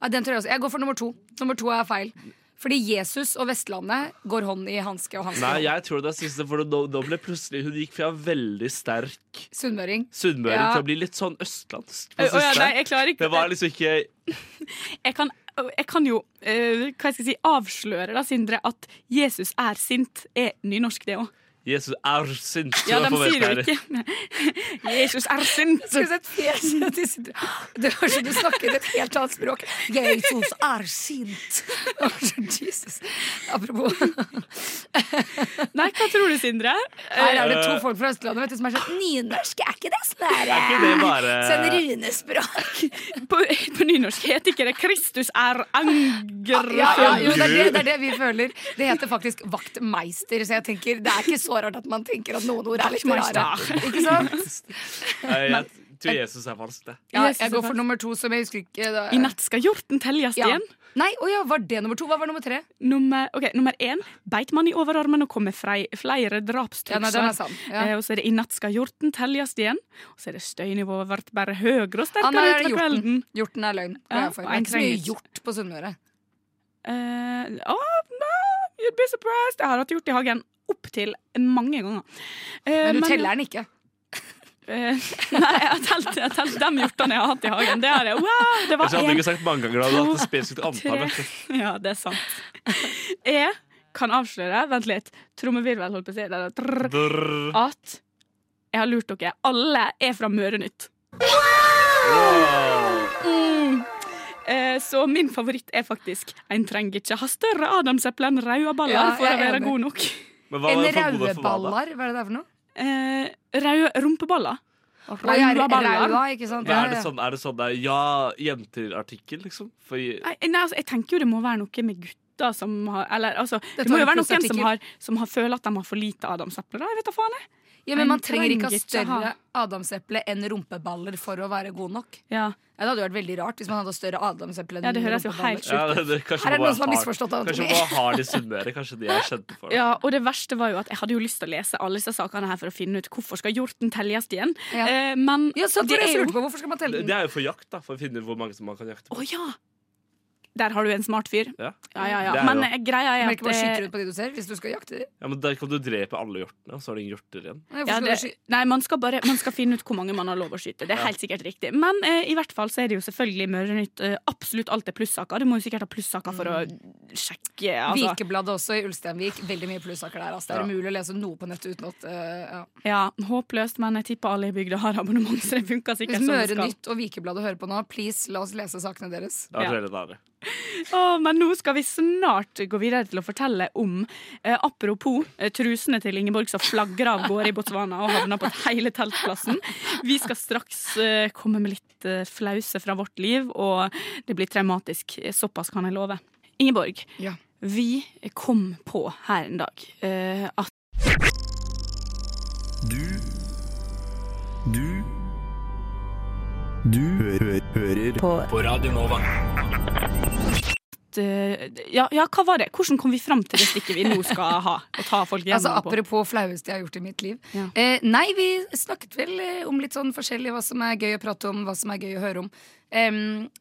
Ja, den tror jeg også. Jeg går for nummer to. Nummer to er feil. Fordi Jesus og Vestlandet går hånd i hanske og hanske.
Nei, jeg tror det er siste, for da, da ble plutselig Hun gikk fra veldig sterk
Sunnmøring.
sunnmøring
Ja.
til å bli litt sånn østlandsk.
Å
På
ja,
siste.
nei, jeg klarer ikke
det var liksom ikke
jeg, kan, jeg kan jo eh, hva skal jeg si, avsløre, da, Sindre, at Jesus er sint er nynorsk, det òg.
Jesus er sint.
Ja,
som
de
jeg får
sier
vite
jo ikke Jesus er sint!
Skulle sett fjeset til Sindre. Det var som du snakket et helt annet språk. Jesus er sint. Jeg var sånn, Jesus. Apropos.
Nei, hva tror du, Sindre?
Her er det to folk fra Østlandet vet du, som er sånn Nynorsk er ikke det sånn
Er ikke det
der
bare
Sånn runespråk.
På, på nynorsk heter ikke det 'Kristus er anger'.
Ja, ja, jo, det er det, det er det vi føler. Det heter faktisk vaktmeister, så jeg tenker det er ikke så rart at man tenker at noen ord er litt rare.
Vaktmeister.
Ikke sant?
Nei, Jeg tror Jesus er falsk, det.
Ja, jeg går for nummer to, som jeg husker ikke da-
I natt skal hjorten telles
Ja.
igjen.
Nei, å ja, var det nummer to? Hva var nummer tre?
Nummer, ok, nummer én beit man i overarmen og kommer frei, flere
Ja, nei, den er
drapstrusler.
sann. Ja.
eh, og så er det 'I natt skal hjorten telles igjen'. Og så er det 'Støynivået vart bare høyere og
Ah, nei,
sterkere
det er
utover
hjorten.
kvelden'.
Hjorten er løgn.
Ja,
går jeg for.
og
Det er
en
ikke så mye
trenger-
hjort på Sunnmøre.
Eh, ah, no, you'd be surprised. Jeg har hatt hjort i hagen opptil mange ganger. Eh,
Men du teller den ikke.
eh, nei, jeg har telt, jeg har telt de hjortene jeg har hatt i hagen. Det har jeg. Wow, det
Jeg
var
hadde
en,
ikke sagt mange ganger da, at det spesifikt antall
tre
men-
Ja, det er sant. Jeg kan avsløre Vent litt. Trommevirvel, holdt på å si. Det er trrr,
Brrr.
At jeg har lurt dere. Alle er fra Mørenytt. Mm. Eh, Så min favoritt er faktisk En trenger ikke ha større adamseple enn raude baller
Ja,
for å
jeg er
være
enig.
god nok.
Men hva
En
var det for gode for hva da?
raueballar, hva er det der for noe?
Eh, rau- rumpeballer.
Nei, jeg er-
Raua baller.
Raua, ikke sant?
Men
Ja,
er det
ja.
sånn, er det sånn der, ja, jenter-artikkel, liksom? For,
Nei, nei, altså, jeg tenker jo det må være noe med gutter som har Eller altså, det,
Dette
må
var
jo
en
være noen som
plussartikkel.
har, som har føler at de har for lite adamsepler, da. Jeg vet da faen, jeg.
ja, Men man
en
trenger ikke ha
trenger ikke ha-
større adamseple enn rumpeballer for å være god nok.
Ja.
Ja, det hadde vært veldig rart hvis man hadde større adamseple enn
Ja, det høres jo
rumpeballer.
helt sjukt
ja, det, det, kanskje
Her er
man
det
bare
noen som har
har-
misforstått
Kanskje
anatomi.
man bare har de sunnmøre. Kanskje de er kjente for det.
ja, Og det verste var jo at jeg hadde jo lyst til å lese alle disse sakene her for å finne ut hvorfor skal hjorten telles igjen.
Ja.
Eh, men
Ja, sant,
det er jo
lurte på, Hvorfor skal man telle
Det det
den?
er jo for jakt, da, for å finne ut hvor mange som man kan jakte
Å
på.
ja! Der har du en smart fyr.
Ja.
Ja, ja, ja.
Det er
Men
jo-
eh, greia
Du
er
må
at
ikke bare
eh,
skyte ut på de du ser, hvis du skal jakte de.
Ja, men Der kan du drepe alle hjortene, og så har du ingen hjorter igjen.
Nei, hvorfor
Ja,
skal du
det,
sky-
nei, man skal, bare, man skal finne ut hvor mange man har lov å skyte. Det er helt sikkert riktig. Men eh, i hvert fall så er det jo selvfølgelig Mørenytt. Eh, absolutt alt er plussaker. Du må jo sikkert ha plussaker for å
Mm.
sjekke. Altså.
Vikebladet også i Ulsteinvik. Veldig mye plussaker der. Altså. Det
Ja.
er umulig å lese noe på nettet uten at eh, ja.
Ja, Håpløst, men jeg tipper alle i bygda har abonnement, så det funker
Hvis
sikkert som det
Møre
skal.
Nytt og Vikebladet hører på nå, please la oss lese sakene deres.
Det
Ja.
er veldig nære.
Å, men nå skal vi snart gå videre til å fortelle om eh, Apropos eh, trusene til Ingeborg som flagrer av gårde i Botswana og havner på hele teltplassen. Vi skal straks eh, komme med litt eh, flause fra vårt liv, og det blir traumatisk. Såpass kan jeg love. Ingeborg,
Ja.
vi kom på her en dag eh, at
Du Du Du hø hø hører på. Radio Nova.
eh, ja, ja, hva var det? Hvordan kom vi fram til det stikket vi nå skal ha? Og ta folk
Altså
gjennom på?
Apropos flaueste jeg har gjort i mitt liv.
Ja.
Eh, nei, vi snakket vel eh, om litt sånn forskjellig hva som er gøy å prate om, hva som er gøy å høre om. Em,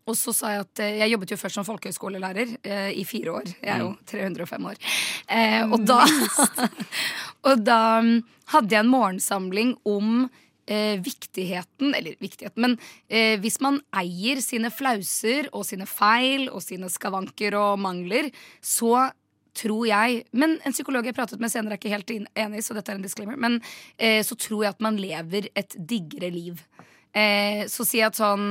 og så sa jeg at eh, jeg jobbet jo først som folkehøyskolelærer eh, i fire år. Jeg er jo
Mm.
305 år. Eh, og da, og da mm, hadde jeg en morgensamling om eh, viktigheten Eller viktigheten, men eh, hvis man eier sine flauser og sine feil og sine skavanker og mangler, så tror jeg Men en psykolog jeg pratet med senere er ikke helt in- enig, så dette er en disclaimer. Men eh, så tror jeg at man lever et diggere liv. Eh, så sier jeg at sånn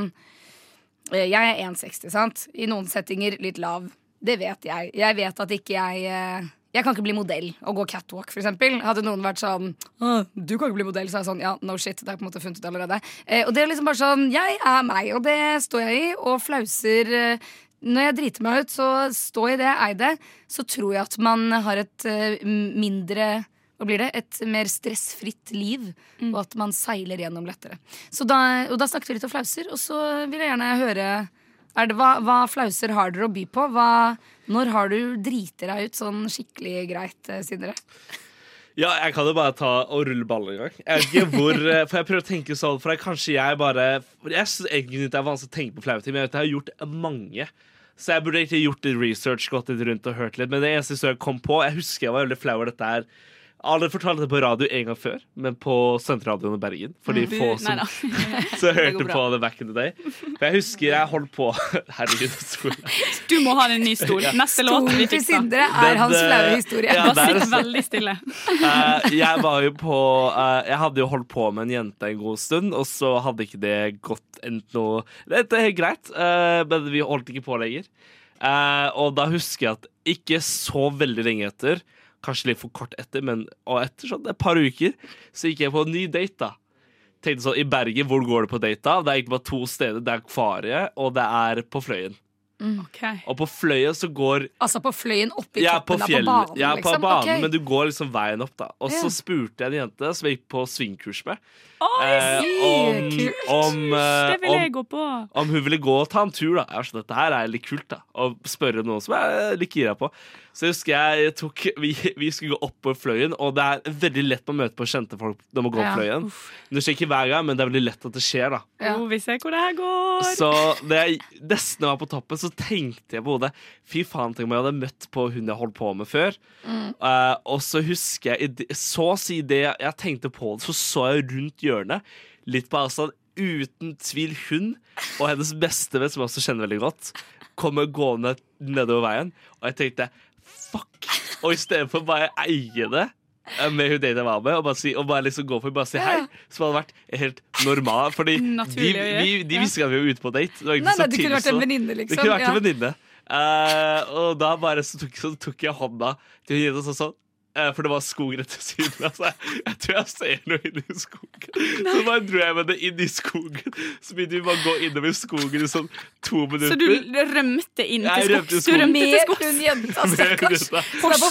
eh, Jeg er 1,60, sant? I noen settinger litt lav. Det vet jeg. Jeg vet at ikke jeg eh, Jeg kan ikke bli modell og gå catwalk, for eksempel. Hadde noen vært sånn «Åh, Du kan ikke bli modell, så er jeg sånn Ja, no shit. Det har jeg på en måte funnet ut allerede. Eh, og det er liksom bare sånn Jeg er meg, og det står jeg i, og flauser eh, når jeg driter meg ut, så stå i det, ei det. Så tror jeg at man har et eh, mindre hva blir det? Et mer stressfritt liv,
Mm.
og at man seiler gjennom lettere. Så da, og da snakket vi litt om flauser, og så vil jeg gjerne høre Er det, hva, hva flauser har dere å by på? Hva, når har du driti deg ut sånn skikkelig greit, eh, Sindre?
Ja, jeg kan jo bare ta og rulle ball en gang. Jeg vet ikke hvor, eh, for jeg prøver å tenke sånn, for jeg, kanskje jeg bare for Jeg syns egentlig ikke det er vanskelig å tenke på flaue ting, men jeg vet jeg har gjort mange. Så jeg burde egentlig gjort litt research, gått litt rundt og hørt litt. Men det eneste som jeg kom på Jeg husker jeg var veldig flau over dette her. Alle fortalte det på radio en gang før, men på Senterradioen i Bergen. For de få
Mm. Nei
som
da.
så
går
hørte
bra.
på det back in the day. For jeg husker jeg holdt på Herregud, skole.
Du må ha en ny stol. Neste låt vi
Tonen til
fikser.
Sindre er
Den,
hans flaue
eh,
historie.
ja,
Bare
der-
sitt veldig stille.
Eh, jeg var jo på eh, Jeg hadde jo holdt på med en jente en god stund, og så hadde ikke det gått endt noe Dette er helt greit, eh, men vi holdt ikke på lenger. Eh, og da husker jeg at ikke så veldig lenge etter, kanskje litt for kort etter, men og etter sånn et par uker, så gikk jeg på en ny date, da. Tenkte sånn, I Bergen, hvor går du på date? da? Det er egentlig bare to steder. Det er Akvariet, og det er på Fløyen. Og på Fløyen så går
Altså på fløyen oppi
jeg er på
toppen av
fjell,
på banen,
jeg er på
liksom.
banen
Ok.
men du går liksom veien opp, da. Og
Ja.
så spurte jeg en jente som jeg gikk på svingkurs med, eh,
Oi,
om,
kult.
om, eh,
det vil
om,
jeg gå på.
om hun ville gå og ta en tur. da Jeg var sånn, Dette her er litt kult, da. Å spørre noen som jeg er litt gira på. Så jeg husker jeg tok Vi, vi skulle gå opp på Fløyen, og det er veldig lett å møte på kjente folk når man går
Ja,
opp Fløyen. Det skjer ikke hver gang, men det er veldig lett at det skjer, da.
Ja.
Oh, vi ser hvor det her går.
Så da jeg nesten var på toppen, så tenkte jeg på hodet Fy faen, tenk om jeg hadde møtt på hun jeg holdt på med før.
Mm.
Eh, og så husker jeg i det- Så å si det jeg tenkte på det, så så jeg rundt hjørnet, litt på avstand. Uten tvil hun og hennes bestevenn, som jeg også kjenner veldig godt, kommer gående nedover veien. Og jeg tenkte fuck! Og i stedet for bare å eie det eh, med hun daten jeg var med, og bare, si, og bare liksom gå for bare si hei, som hadde vært helt normal. Fordi de,
Naturlig å gjøre.
vi, de
Ja.
visste ikke at vi var ute på date. Det var
Nei,
egentlig
nei,
så
du kunne
tidlig
vært en
så-
venninne,
det
liksom.
kunne vært
Ja.
en venninne. Eh, og da bare så tok, så tok jeg hånda til henne og sa sånn. eh, For det var skog rett ved siden av. så jeg- Jeg tror jeg ser noe inni skogen. Så bare dro jeg med det inn i skogen. Så begynte vi bare å gå innover skogen i sånn to minutter.
Så du rømte inn
Jeg
til
rømte
skogs? Du
skogs.
rømte til
Med
skogs
hun jenta,
Med
stakkars.
dette.
Så det er på-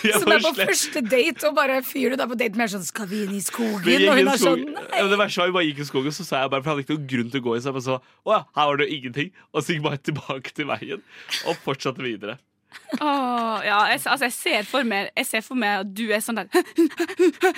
Jeg
Så det er på
var slett-
første date, og bare fyrer du deg på date med er sånn 'Skal vi inn i
Vi
skogen?'
gikk i
Og hun er sånn
skogen.
«Nei».
Ja, men Det verste var vi bare gikk i skogen, så sa jeg bare, for jeg hadde ikke noen grunn til å gå i. Så jeg bare så, å ja, her var det jo ingenting. Og så gikk jeg bare tilbake til veien og fortsatte videre.
Åh, ja, jeg, altså, jeg, ser for meg, jeg ser for meg at du er sånn der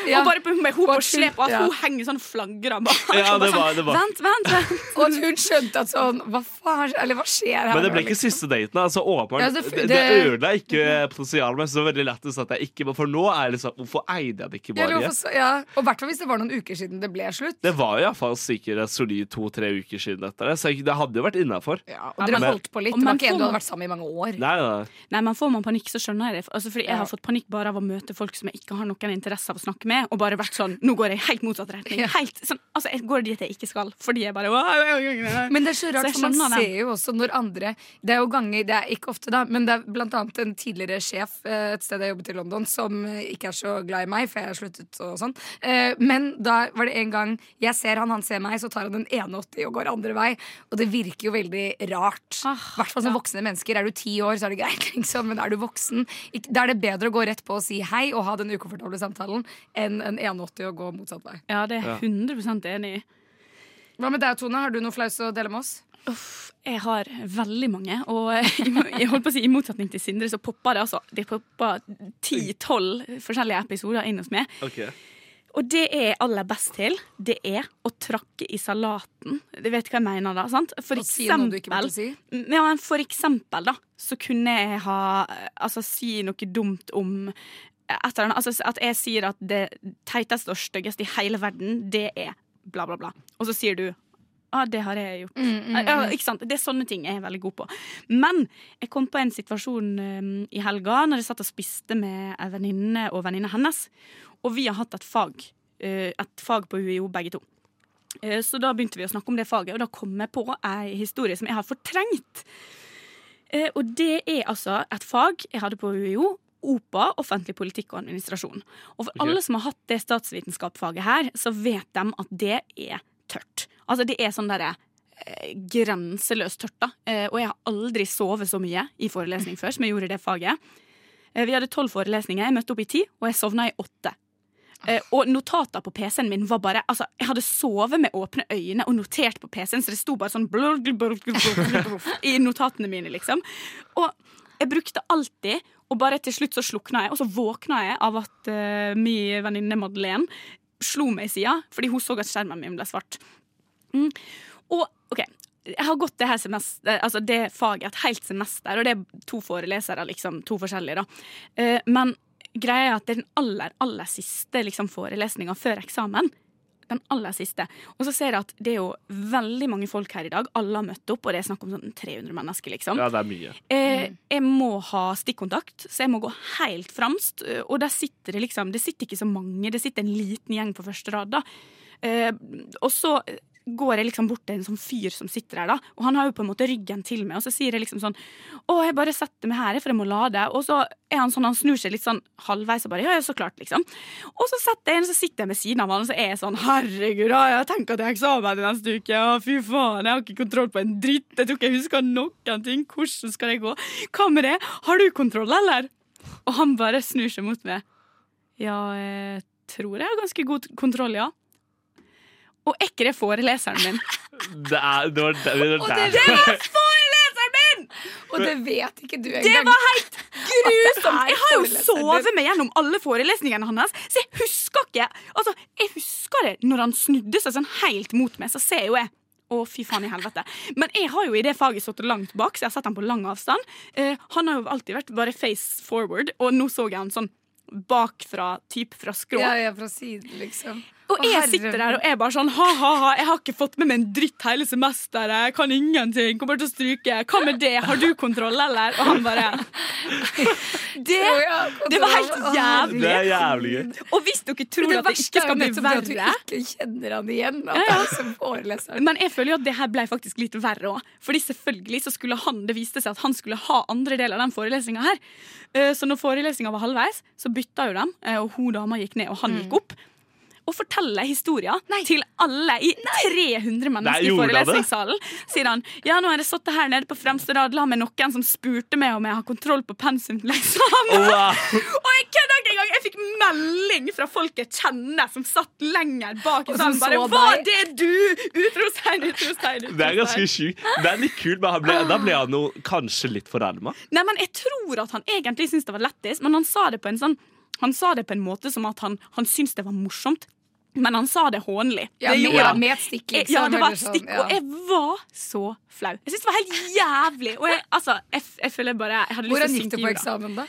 Ja.
Og bare på- med hun på
full,
slep, og at
ja.
hun henger sånn flagrer bak.
Ja,
og bare
det var-
sånn,
det var-
Vent, vent, vent.
Og at hun skjønte at sånn Hva faen Eller hva skjer her?
Men det
nå,
ble ikke
liksom?
siste daten. Altså, åpenbart,
Ja,
det,
det-
det,
det-
ødela ikke potensialet mitt. Så det var veldig lett å si at jeg ikke For nå er det liksom Hvorfor eide jeg det ikke
Ja, eller
bare?
hvorfor så- ja. Og i hvert fall hvis det var noen uker siden det ble slutt.
Det var jo iallfall sikkert solid to-tre uker siden dette. der, Så jeg, det hadde jo vært innafor.
Ja, og dere
men-
holdt på litt.
Og
Det var
man
ikke en
får-
du hadde vært sammen i mange år.
Nei, nei, nei.
Nei, men Får man panikk, så skjønner jeg det. Altså, fordi Jeg har fått panikk bare av å møte folk som jeg ikke har noen interesse av å snakke med, og bare vært sånn Nå går jeg i helt motsatt retning.
Ja.
Helt, sånn, altså, jeg går dit jeg ikke skal, fordi jeg bare Men
Men det er så rart,
jeg
for man
skjønner det.
ser jo også når andre Det er jo ganger, det er ikke ofte da, men det er blant annet en tidligere sjef eh, et sted jeg jobbet i London, som eh, ikke er så glad i meg, for jeg har sluttet og sånn. Eh, Men da var det en gang jeg ser han, han ser meg, så tar han den ene 80 og går andre vei. Og det virker jo veldig rart. I
Ah,
hvert fall som voksne mennesker. Er du ti år, så er det greit, liksom, men er du voksen, ikk- da er det bedre å gå rett på og si hei og ha den ukomfortable samtalen enn en 81 og gå motsatt vei.
Ja, det er jeg 100 enig i.
Hva med deg, Tone? Har du noe flaut å dele med oss?
Uff, jeg har veldig mange, og jeg holdt på å si i motsetning til Sindre, så popper det altså Det popper 10-12 forskjellige episoder inn hos meg.
Ok.
Og det jeg er aller best til, det er å trakke i salaten. Du vet hva jeg mener da, sant? For
Å si noe du ikke
eksempel,
burde si?
ja, men for eksempel da, så kunne jeg ha eh, Altså si noe dumt om eh, et eller annet. Altså at jeg sier at det teiteste og styggeste i hele verden, det er bla, bla, bla. Og så sier du Ja, ah, det har jeg gjort. Ja, ikke sant? Det er sånne ting jeg er veldig god på. Men jeg kom på en situasjon eh, i helga når jeg satt og spiste med en venninne og venninna hennes. Og vi har hatt et fag, eh, et fag på UiO begge to. Eh, Så da begynte vi å snakke om det faget, og da kom jeg på ei historie som jeg har fortrengt. Eh, Og det er altså et fag jeg hadde på UiO. OPA, offentlig politikk og administrasjon. Og for alle som har hatt det statsvitenskapsfaget her, så vet de at det er tørt. Altså det er sånn derre eh, grenseløst tørt, da. Eh, Og jeg har aldri sovet så mye i forelesning Eh, før Eh, og notater på PC-en min var bare Altså, jeg hadde sovet med åpne øyne og notert på PC-en, så det sto bare sånn blurg, blurg, blurg, blurg, blurg, i notatene mine, liksom. Og jeg brukte alltid Og bare til slutt så slukna jeg, og så våkna jeg av at uh, min venninne Madeleine slo meg i sida fordi hun så at skjermen min ble svart. Mm. Og OK. Jeg har gått det her semester, altså det faget et helt semester, og det er to forelesere, liksom, to forskjellige. da. Eh, men greia er at det er den aller, aller siste liksom, forelesninga før eksamen. Den aller siste. Og så ser jeg at det er jo veldig mange folk her i dag. Alle har møtt opp, og det er snakk om sånn 300 mennesker, liksom.
Ja, det er mye.
Eh, jeg må ha stikkontakt, så jeg må gå helt fremst. eh, Og der sitter det liksom Det sitter ikke så mange, det sitter en liten gjeng på første rad. da eh, Og så går jeg liksom bort til en sånn fyr som sitter her, da og han har jo på en måte ryggen til meg. Og så sier jeg liksom sånn Å, jeg bare setter meg her, for jeg må lade. Og så er han sånn, han snur seg litt sånn halvveis og bare Ja, ja, så klart, liksom. Og så setter jeg en, så sitter jeg med siden av han, og så er jeg sånn Herregud, ah, jeg tenker at jeg har eksamen i neste uke. Ah, fy faen, jeg har ikke kontroll på en dritt. Jeg tror ikke jeg husker noen ting. Hvordan skal det gå? Hva med det? Har du kontroll, eller? Og han bare snur seg mot meg. Ja, jeg tror jeg har ganske god kontroll, ja. Og er ikke det foreleseren min?
Det, er, det var det, det,
Og
var
det
der.
vet foreleseren min! Og det vet ikke du engang.
Det var helt grusomt!
At det er
Jeg har jo
foreleseren din.
sovet meg gjennom alle forelesningene hans, så jeg husker ikke Altså, jeg husker det når han snudde seg sånn helt mot meg, så ser jo jeg å, fy faen i helvete. Men jeg har jo i det faget stått langt bak, så jeg har sett han på lang avstand. Eh, han har jo alltid vært bare face forward, og nå så jeg han sånn bakfra, typ fra skrå.
Ja, jeg er fra siden, liksom.
Og
Å,
jeg
herre
sitter
min.
der og er bare sånn ha, ha, ha, jeg har ikke fått med meg en dritt hele semesteret. Jeg kan ingenting. Kommer til å stryke. Hva med det? Har du kontroll, eller? Og han bare Det,
Å, ja,
det var helt
kontroll. Å, herre.
jævlig.
det er jævlig gøy.
Og hvis dere tror
Det
at det
verste
ikke
er jo
skal bli
nettopp det at
verre
du ikke kjenner han igjen. At det er som foreleseren.
men jeg føler jo at det her ble faktisk litt verre òg. Fordi selvfølgelig så skulle han, det viste seg at han skulle ha andre del av den forelesninga her. Eh, Så når forelesninga var halvveis, så bytta jo dem, eh, og hun dama gikk ned, og han gikk opp. Og forteller historien til alle i 300 mennesker
Nei,
i
gjorde han det?
forelesningssalen. Sier han ja, nå har jeg sittet her nede på fremste rad la med noen som spurte meg om jeg har kontroll på pensum liksom. til eksamen.
Wow.
Og jeg kødder ikke engang! Jeg fikk melding fra folk jeg kjenner, som satt lenger bak i
Og som
salen. Bare,
så
Var
deg.
det du?! Utropstegn, utropstegn.
Det er ganske
utropstegn.
sjukt. Det er litt kult, men han ble, da ble han jo kanskje litt fornærma.
Nei, men Jeg tror at han egentlig syntes det var lættis, men han sa det på en sånn Han sa det på en måte som at han, han syntes det var morsomt, men han sa det hånlig.
Ja,
det
med,
gjorde han.
med et stikk, liksom.
ja, det var
eller
et
sånn,
stikk,
ja.
og jeg var så flau. Jeg syntes det var helt jævlig. Og jeg, altså, jeg, f- jeg føler bare jeg hadde lyst
Hvordan
til å
gikk det
synke i
på
jorda.
eksamen, da?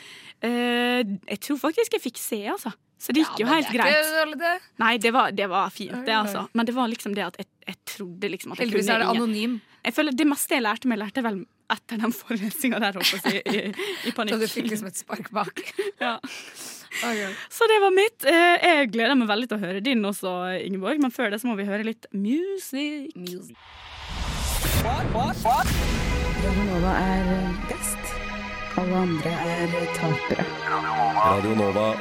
Eh, jeg tror faktisk jeg fikk se, altså. Så det gikk jo
men
helt
det er
greit.
ikke dårlig, det.
Nei, det var, det var fint, det,
Oi, oi.
altså. Men det var liksom det at jeg, jeg trodde liksom at jeg
Heldigvis
kunne
er det
ingen-
anonym.
Jeg føler Det meste jeg lærte meg, lærte jeg vel etter den forelesninga der, holdt jeg på å si, i, i
Så
panikk.
du fikk liksom et spark bak.
ja.
Ok.
Så det var mitt. Eh, Jeg gleder meg veldig til å høre din også, Ingeborg, men før det så må vi høre litt music.
Radionova er best. Alle andre er tapere.
Radio Nova.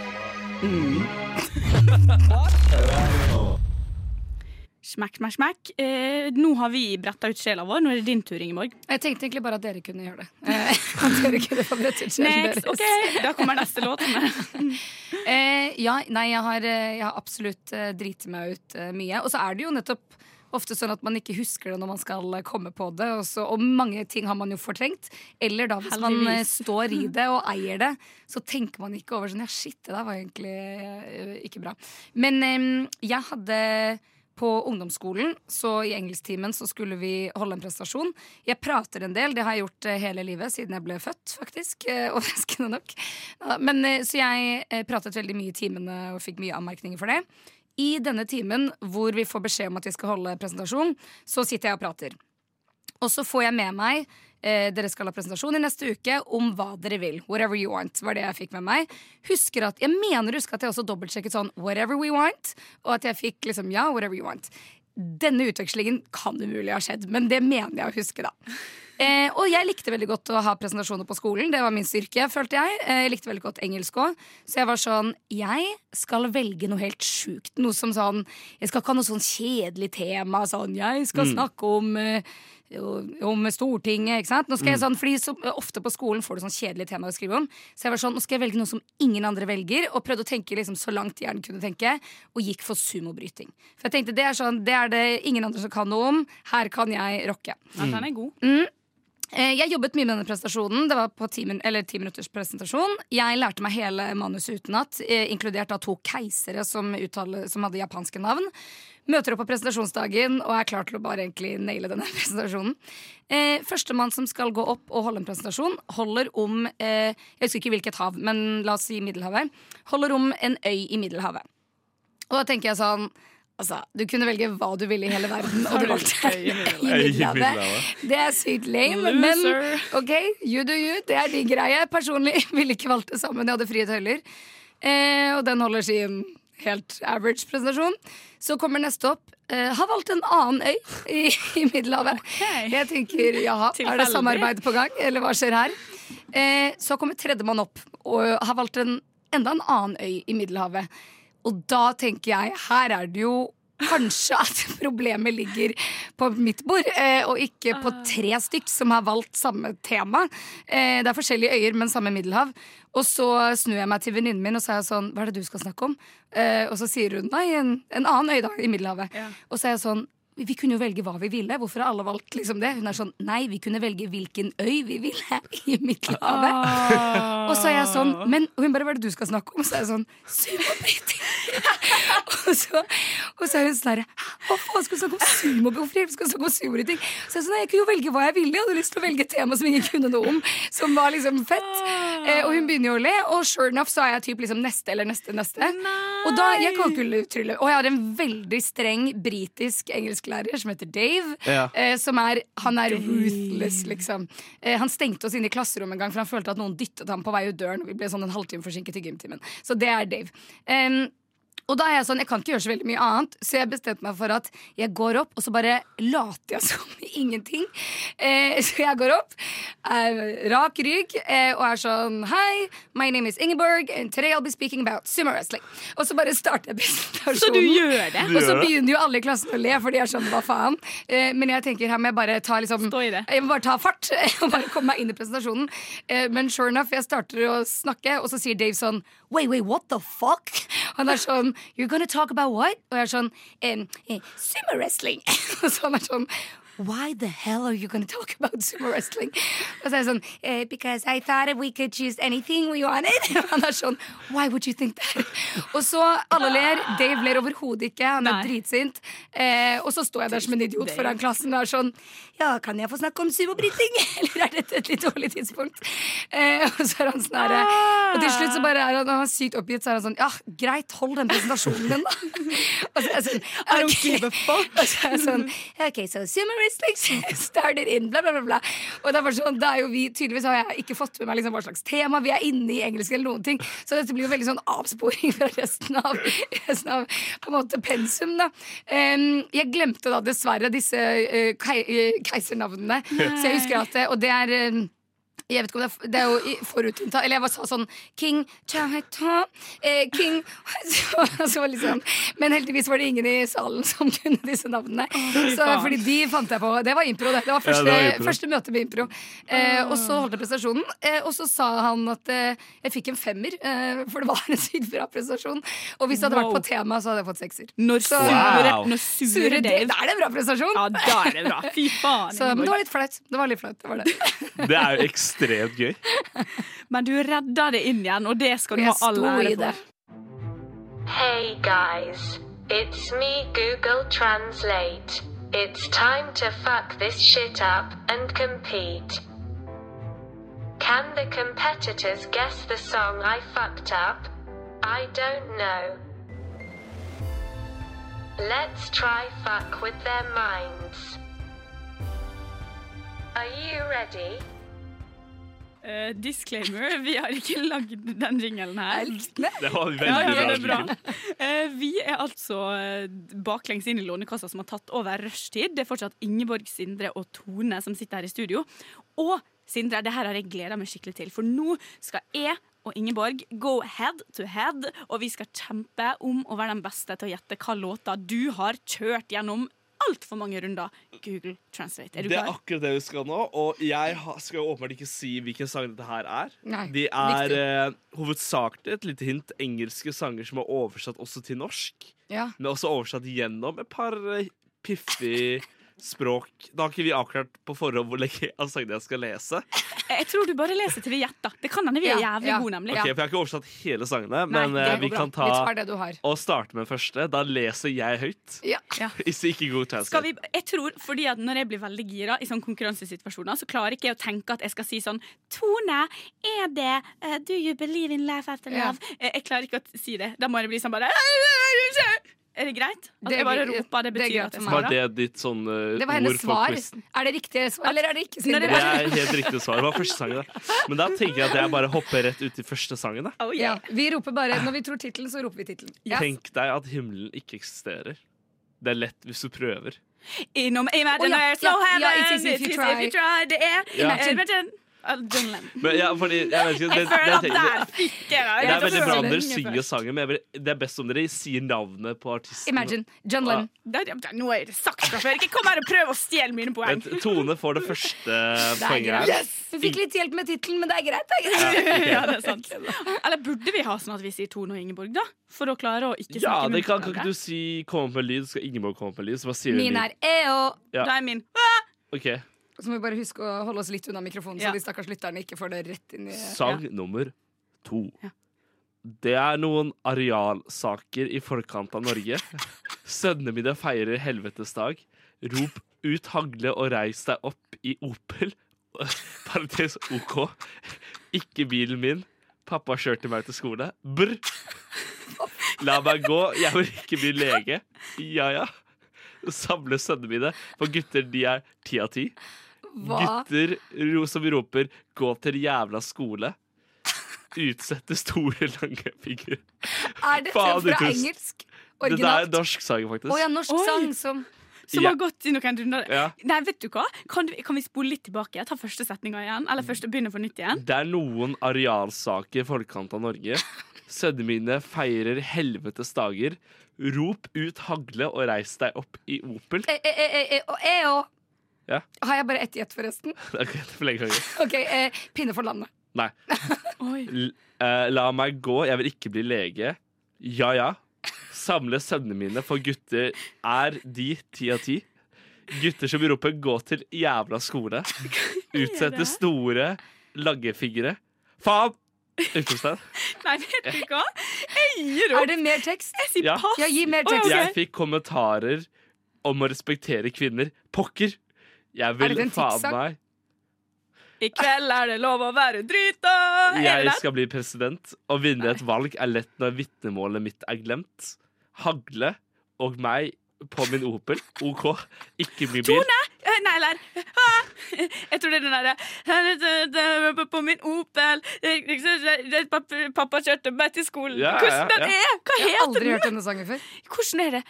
Smekk, smekk, smekk. Eh, Nå har vi bretta ut sjela vår. Nå er det din tur, Ingeborg.
Jeg tenkte egentlig bare at dere kunne gjøre det. Eh, At dere kunne få brett ut sjelen
Next,
deres.
ok, Da kommer neste låt.
Eh, ja, nei, jeg har, eh, jeg har absolutt eh, driti meg ut eh, mye. Og så er det jo nettopp ofte sånn at man ikke husker det når man skal eh, komme på det. Og, så, og mange ting har man jo fortrengt. Eller da hvis man eh,
Heldigvis.
står i det og eier det, så tenker man ikke over sånn Ja, shit, det der var egentlig eh, ikke bra. Men eh, jeg hadde på ungdomsskolen, så i engelsktimen, så skulle vi holde en prestasjon. Jeg prater en del, det har jeg gjort eh, hele livet siden jeg ble født, faktisk. eh, Overraskende nok. Ja, Men, eh, så jeg eh, pratet veldig mye i timene og fikk mye anmerkninger for det. I denne timen hvor vi får beskjed om at vi skal holde presentasjon, så sitter jeg og prater. Og så får jeg med meg eh, Dere skal ha presentasjon i neste uke om hva dere vil. Whatever you want, var det jeg fikk med meg. Husker at, Jeg mener husker at jeg også dobbeltsjekket sånn whatever we want, og at jeg fikk liksom ja, whatever you want. Denne utvekslingen kan umulig ha skjedd, men det mener jeg å huske, da. Eh, og jeg likte veldig godt å ha presentasjoner på skolen. Det var min styrke, følte jeg. Eh, jeg likte veldig godt engelsk òg. Så jeg var sånn Jeg skal velge noe helt sjukt. Noe som sånn Jeg skal ikke ha noe sånn kjedelig tema. Sånn Jeg skal snakke om eh, jo, om Stortinget, ikke sant. Nå skal jeg sånn, fordi så, Ofte på skolen får du sånn kjedelige temaer å skrive om. Så jeg var sånn, nå skal jeg velge noe som ingen andre velger, og prøvde å tenke liksom så langt hjernen kunne tenke, og gikk for sumobryting. For jeg tenkte det er sånn, det er det ingen andre som kan noe om. Her kan jeg rocke.
Ja, den er
Mm.
god.
Eh, Jeg jobbet mye med denne presentasjonen. Det var på ti, min eller ti minutters presentasjon. Jeg lærte meg hele manuset utenat, eh, inkludert av to keisere som, uttale, som hadde japanske navn. Møter opp på presentasjonsdagen og er klar til å bare egentlig naile denne presentasjonen. Eh, Førstemann som skal gå opp og holde en presentasjon, holder om eh, Jeg husker ikke hvilket hav, men la oss si Middelhavet. Holder om en øy i Middelhavet. Og da tenker jeg sånn Altså, Du kunne velge hva du ville i hele verden, og du valgte
Øy i Middelhavet.
Øy i Middelhavet. Det er sykt lame, men
Loser.
ok, you do you. Det er din greie. Personlig ville ikke valgt det sammen. Jeg hadde frie tøyler. Eh, og den holder sin helt average presentasjon. Så kommer neste opp. Eh, har valgt en annen øy i, i Middelhavet. Jeg tenker jaha, er det
Tilfeldig.
samarbeid på gang, eller hva skjer her? Eh, så kommer tredjemann opp og har valgt en, enda en annen øy i Middelhavet. Og da tenker jeg, her er det jo kanskje at problemet ligger på mitt bord, eh, og ikke på
Ah.
tre stykk som har valgt samme tema. Eh, det er forskjellige øyer, men samme Middelhav. Og så snur jeg meg til venninnen min og sier sånn, hva er det du skal snakke om? Eh, og så sier hun, nei, en, en annen øy da, i Middelhavet.
Ja.
Og så er jeg sånn, vi kunne jo velge hva vi ville. Hvorfor har alle valgt liksom det? Hun er sånn, nei, vi kunne velge hvilken øy vi ville i Middelhavet.
Ah.
Og så er jeg sånn, men og hun bare, hva er det du skal snakke om? Så er jeg sånn, sumobryting. og, så, og så er hun sånn der, hva faen skal du snakke om sumo? Hvorfor i helvete skal du snakke om sumobryting? Så jeg er sånn, «Nei, jeg kunne jo velge hva jeg ville, jeg hadde lyst til å velge et tema som ingen kunne noe om, som var liksom fett. Eh, og hun begynner jo å le, og sure enough så er jeg typ liksom neste eller neste neste. Og da, jeg kan ikke trylle, og jeg har en veldig streng britisk engelsklærer som heter Dave,
Ja.
eh, som er, han er ruthless, liksom. Eh, han stengte oss inne i klasserommet en gang, for han følte at noen dyttet ham på vei ut døren. Vi ble sånn en halvtime forsinket til gymtimen. Så det er Dave. Em, og da er jeg sånn, jeg kan ikke gjøre så veldig mye annet, så jeg bestemte meg for at jeg går opp, og så bare later jeg som ingenting. Eh, så jeg går opp, er rak rygg, eh, og er sånn Hei, my name is Ingeborg, and today I'll be speaking about sumo wrestling. Og så bare starter jeg presentasjonen.
Så du gjør det?
Og så begynner jo alle i klassen å le, for de er sånn, hva faen? Eh, men jeg tenker her må jeg bare ta liksom
Stå i det.
Jeg må bare ta fart og bare komme meg inn i presentasjonen. Eh, men sure enough, jeg starter å snakke, og så sier Dave sånn Wait, wait, what the fuck? Han er sånn You're gonna talk about what? Og jeg er sånn «Em, eh, Sumo wrestling. og så han er sånn Why the hell are you gonna talk about sumo wrestling? Og så er jeg sånn eh, Because I thought we could choose anything we wanted. Og han er sånn Why would you think that? Og så alle ler. Dave ler overhodet ikke. Han er
Nei.
dritsint. Eh, og så står jeg der som en idiot foran klassen og er sånn Ja, kan jeg få snakke om sumobryting? Eller er dette et litt dårlig tidspunkt? Eh, og så er han sånn herre Og til slutt så bare er han, han er sykt oppgitt, så er han sånn Ja, greit, hold den presentasjonen din, da. og så er jeg sånn I don't give a fuck. og så er jeg sånn OK, so sumo wrestling started in bla, bla, bla, bla. Og det er bare sånn, da er jo vi Tydeligvis har jeg ikke fått med meg liksom hva slags tema vi er inne i engelsk eller noen ting, så dette blir jo veldig sånn avsporing fra resten av, resten av på en måte pensum, da. Em, jeg glemte da dessverre disse eh, kei, eh, keisernavnene, så jeg husker at det, Og det er em, jeg vet ikke om det er, det er jo i- forutinnta Eller jeg bare sa sånn King Chaheta eh, King så, så var det liksom, Men heldigvis var det ingen i salen som kunne disse navnene. Så,
faen.
fordi de fant jeg på. Det var impro, det. Det var første,
det var impro.
første møte med impro. Eh, og så holdt jeg prestasjonen, eh, og så sa han at eh, jeg fikk en femmer, eh, for det var en sykt bra prestasjon. Og hvis det hadde
Wow.
vært på tema, så hadde jeg fått sekser.
Når
Så-
sure,
Wow.
når sure
Sure, det,
Dave
da er det en bra prestasjon.
Ja, da er det bra. Fy faen.
Så, men det
Ingeborg.
var litt flaut. Det var litt flaut. Det var det.
Det er jo ekstremt gøy.
Men du redda det inn igjen, og det skal du ha
Jeg
all
sto
ære
i det.
for.
Hey guys, it's me Google Translate. It's time to fuck this shit up and compete. Can the competitors guess the song I fucked up? I don't know. Let's try fuck with their minds. Are you ready?
Eh, disclaimer, vi har ikke lagd den jingelen her.
Det var veldig
Ja, ja, det er
bra.
bra. Eh, vi er altså eh, baklengs inn i Lånekassa, som har tatt over rushtid. Det er fortsatt Ingeborg, Sindre og Tone som sitter her i studio. Og Sindre, det her har jeg gleda meg skikkelig til, for nå skal jeg og Ingeborg go head to head, og vi skal kjempe om å være den beste til å gjette hva låta du har kjørt gjennom altfor mange runder. Google Translate. Er du
Det er
klar?
akkurat det vi skal nå, og jeg ha- skal jo åpenbart ikke si hvilken sang dette her er.
Nei,
De er
viktig.
eh, hovedsakelig et lite hint engelske sanger som er oversatt også til norsk,
Ja.
men også oversatt gjennom et par eh, piffig språk. Da har ikke vi avklart på forhånd hvor lenge av sangene jeg skal lese.
Jeg tror du bare leser til vi gjetter. Det kan hende vi er
Ja,
jævlig
ja.
gode, nemlig.
Ok, For jeg har ikke oversatt hele sangene,
Nei,
men
det
eh,
går
vi
bra.
kan ta
Vi tar det du har.
og starte med den første. Da leser jeg høyt.
Ja.
Hvis ikke god translate.
Skal vi, jeg tror, fordi at Når jeg blir veldig gira i sånne konkurransesituasjoner, så klarer ikke jeg å tenke at jeg skal si sånn Tone, er det eh, Do you believe in life after
Ja.
love? Eh, Jeg klarer ikke å si det. Da må jeg bli sånn bare Er det greit? At
Det
jeg bare
blir-
roper, det
det er
betyr
greit
at
for
jeg
meg.
svarer.
Var det ditt sånn eh,
Det var hennes
ord folk
svar.
visste?
Er det riktig svar, eller er det ikke?
Når det
Det
Sindre?
er helt riktig svar. Det var første sangen. Da. Men da tenker jeg at jeg bare hopper rett ut i første sangen. Da.
Oh,
Ja,
yeah.
vi roper bare, Når vi tror tittelen, så roper vi tittelen. Ja.
Tenk deg at himmelen ikke eksisterer. Det er lett hvis du prøver.
Innom Imagine
Å, ja,
there's no
ja, ja,
heaven,
it is if you
it is
try.
if you try. Det er
Ja.
eh, Imagine. av John Lennon.
Men ja, fordi, jeg vet ikke, det, det,
Jeg føler at
det,
der fikk jeg
det
det.
er veldig bra om dere
Lenge
synger
først.
sangen, men jeg vil, det er best om dere sier navnet på artisten.
Imagine. John Lennon.
Det- det- det- Nå har jeg det sagt fra før. Ikke kom her og prøv å stjele mine poeng.
Vent, Tone får det første
Det er
poenget
greit.
her.
Yes! Vi fikk litt hjelp med tittelen, men det er greit. Det er greit.
ja, det er sant. Eller burde vi ha sånn at vi sier Tone og Ingeborg, da? For å klare å ikke snakke
Ja, det
munnen
kan,
til
kan ikke
hverandre.
du si 'komme opp med lyd'? Skal Ingeborg komme opp med lyd? Så bare sier hun
Min
lyd.
er EO.
ja.
Da er min.
Ok,
Så må vi bare huske å holde oss litt unna mikrofonen,
Ja.
så de stakkars lytterne ikke får det rett inn i
Sang nummer to.
Ja.
Det er noen arealsaker i forkant av Norge. Sønnemiddag feirer helvetesdag. Rop ut hagle og reis deg opp i Opel. Parentes OK. Ikke bilen min. Pappa kjørte meg til skole. Brr. La meg gå, jeg vil ikke bli lege. Ja ja. Samle sønnemiddag, for gutter de er ti av ti.
Hva?
Gutter ro, som roper 'gå til jævla skole'. Utsette store, lange fingre.
Er dette
Faen, du
fra
tust.
engelsk?
Dette er en
Originalt?
norsk sang, faktisk.
Å ja, norsk
Oi.
sang som
Som
Ja.
har gått i noen runder.
Ja.
Nei, vet du hva? Kan, du, kan vi spole litt tilbake? Ta første setninga igjen? Eller først begynne på nytt igjen?
Det er noen arealsaker i forkant av Norge. Sødmine feirer helvetes dager. Rop ut hagle og reis deg opp i Opel.
E- e- e- e- og EO.
Ja.
Har jeg bare ett gjett, forresten?
Det er ikke for lenge ganger.
Ok, eh, Pinne for landet.
Nei.
Oi.
L- eh, la meg gå, jeg vil ikke bli lege. Ja ja. Samle sønnene mine, for gutter er de ti av ti. Gutter som roper 'gå til jævla skole'. Utsette store langfingre. Faen! Utropstegn.
Nei, vet du hva? Jeg gir
Er
opp.
det mer tekst?
Jeg sier
Ja.
pass.
Ja, gi mer
Å, ja,
tekst.
Jeg fikk kommentarer om å respektere kvinner. Pokker! Jeg vil
Er det en
faen
tipssak?
meg
I kveld er det lov å være drita. Er
Jeg
det det?
skal bli president. Å vinne et valg er lett når vitnemålet mitt er glemt. Hagle og meg på min Opel. OK, ikke min bil.
Eh, Nei, eller ah, Jeg tror det er den derre "Her er det- det er På min Opel det- det- det- pappa- Pappa kjørte meg til skolen.
Ja, ja,
Hvordan den
ja.
er? Hva
Jeg
heter
har aldri
den?
hørt denne sangen før.
Hvordan er det?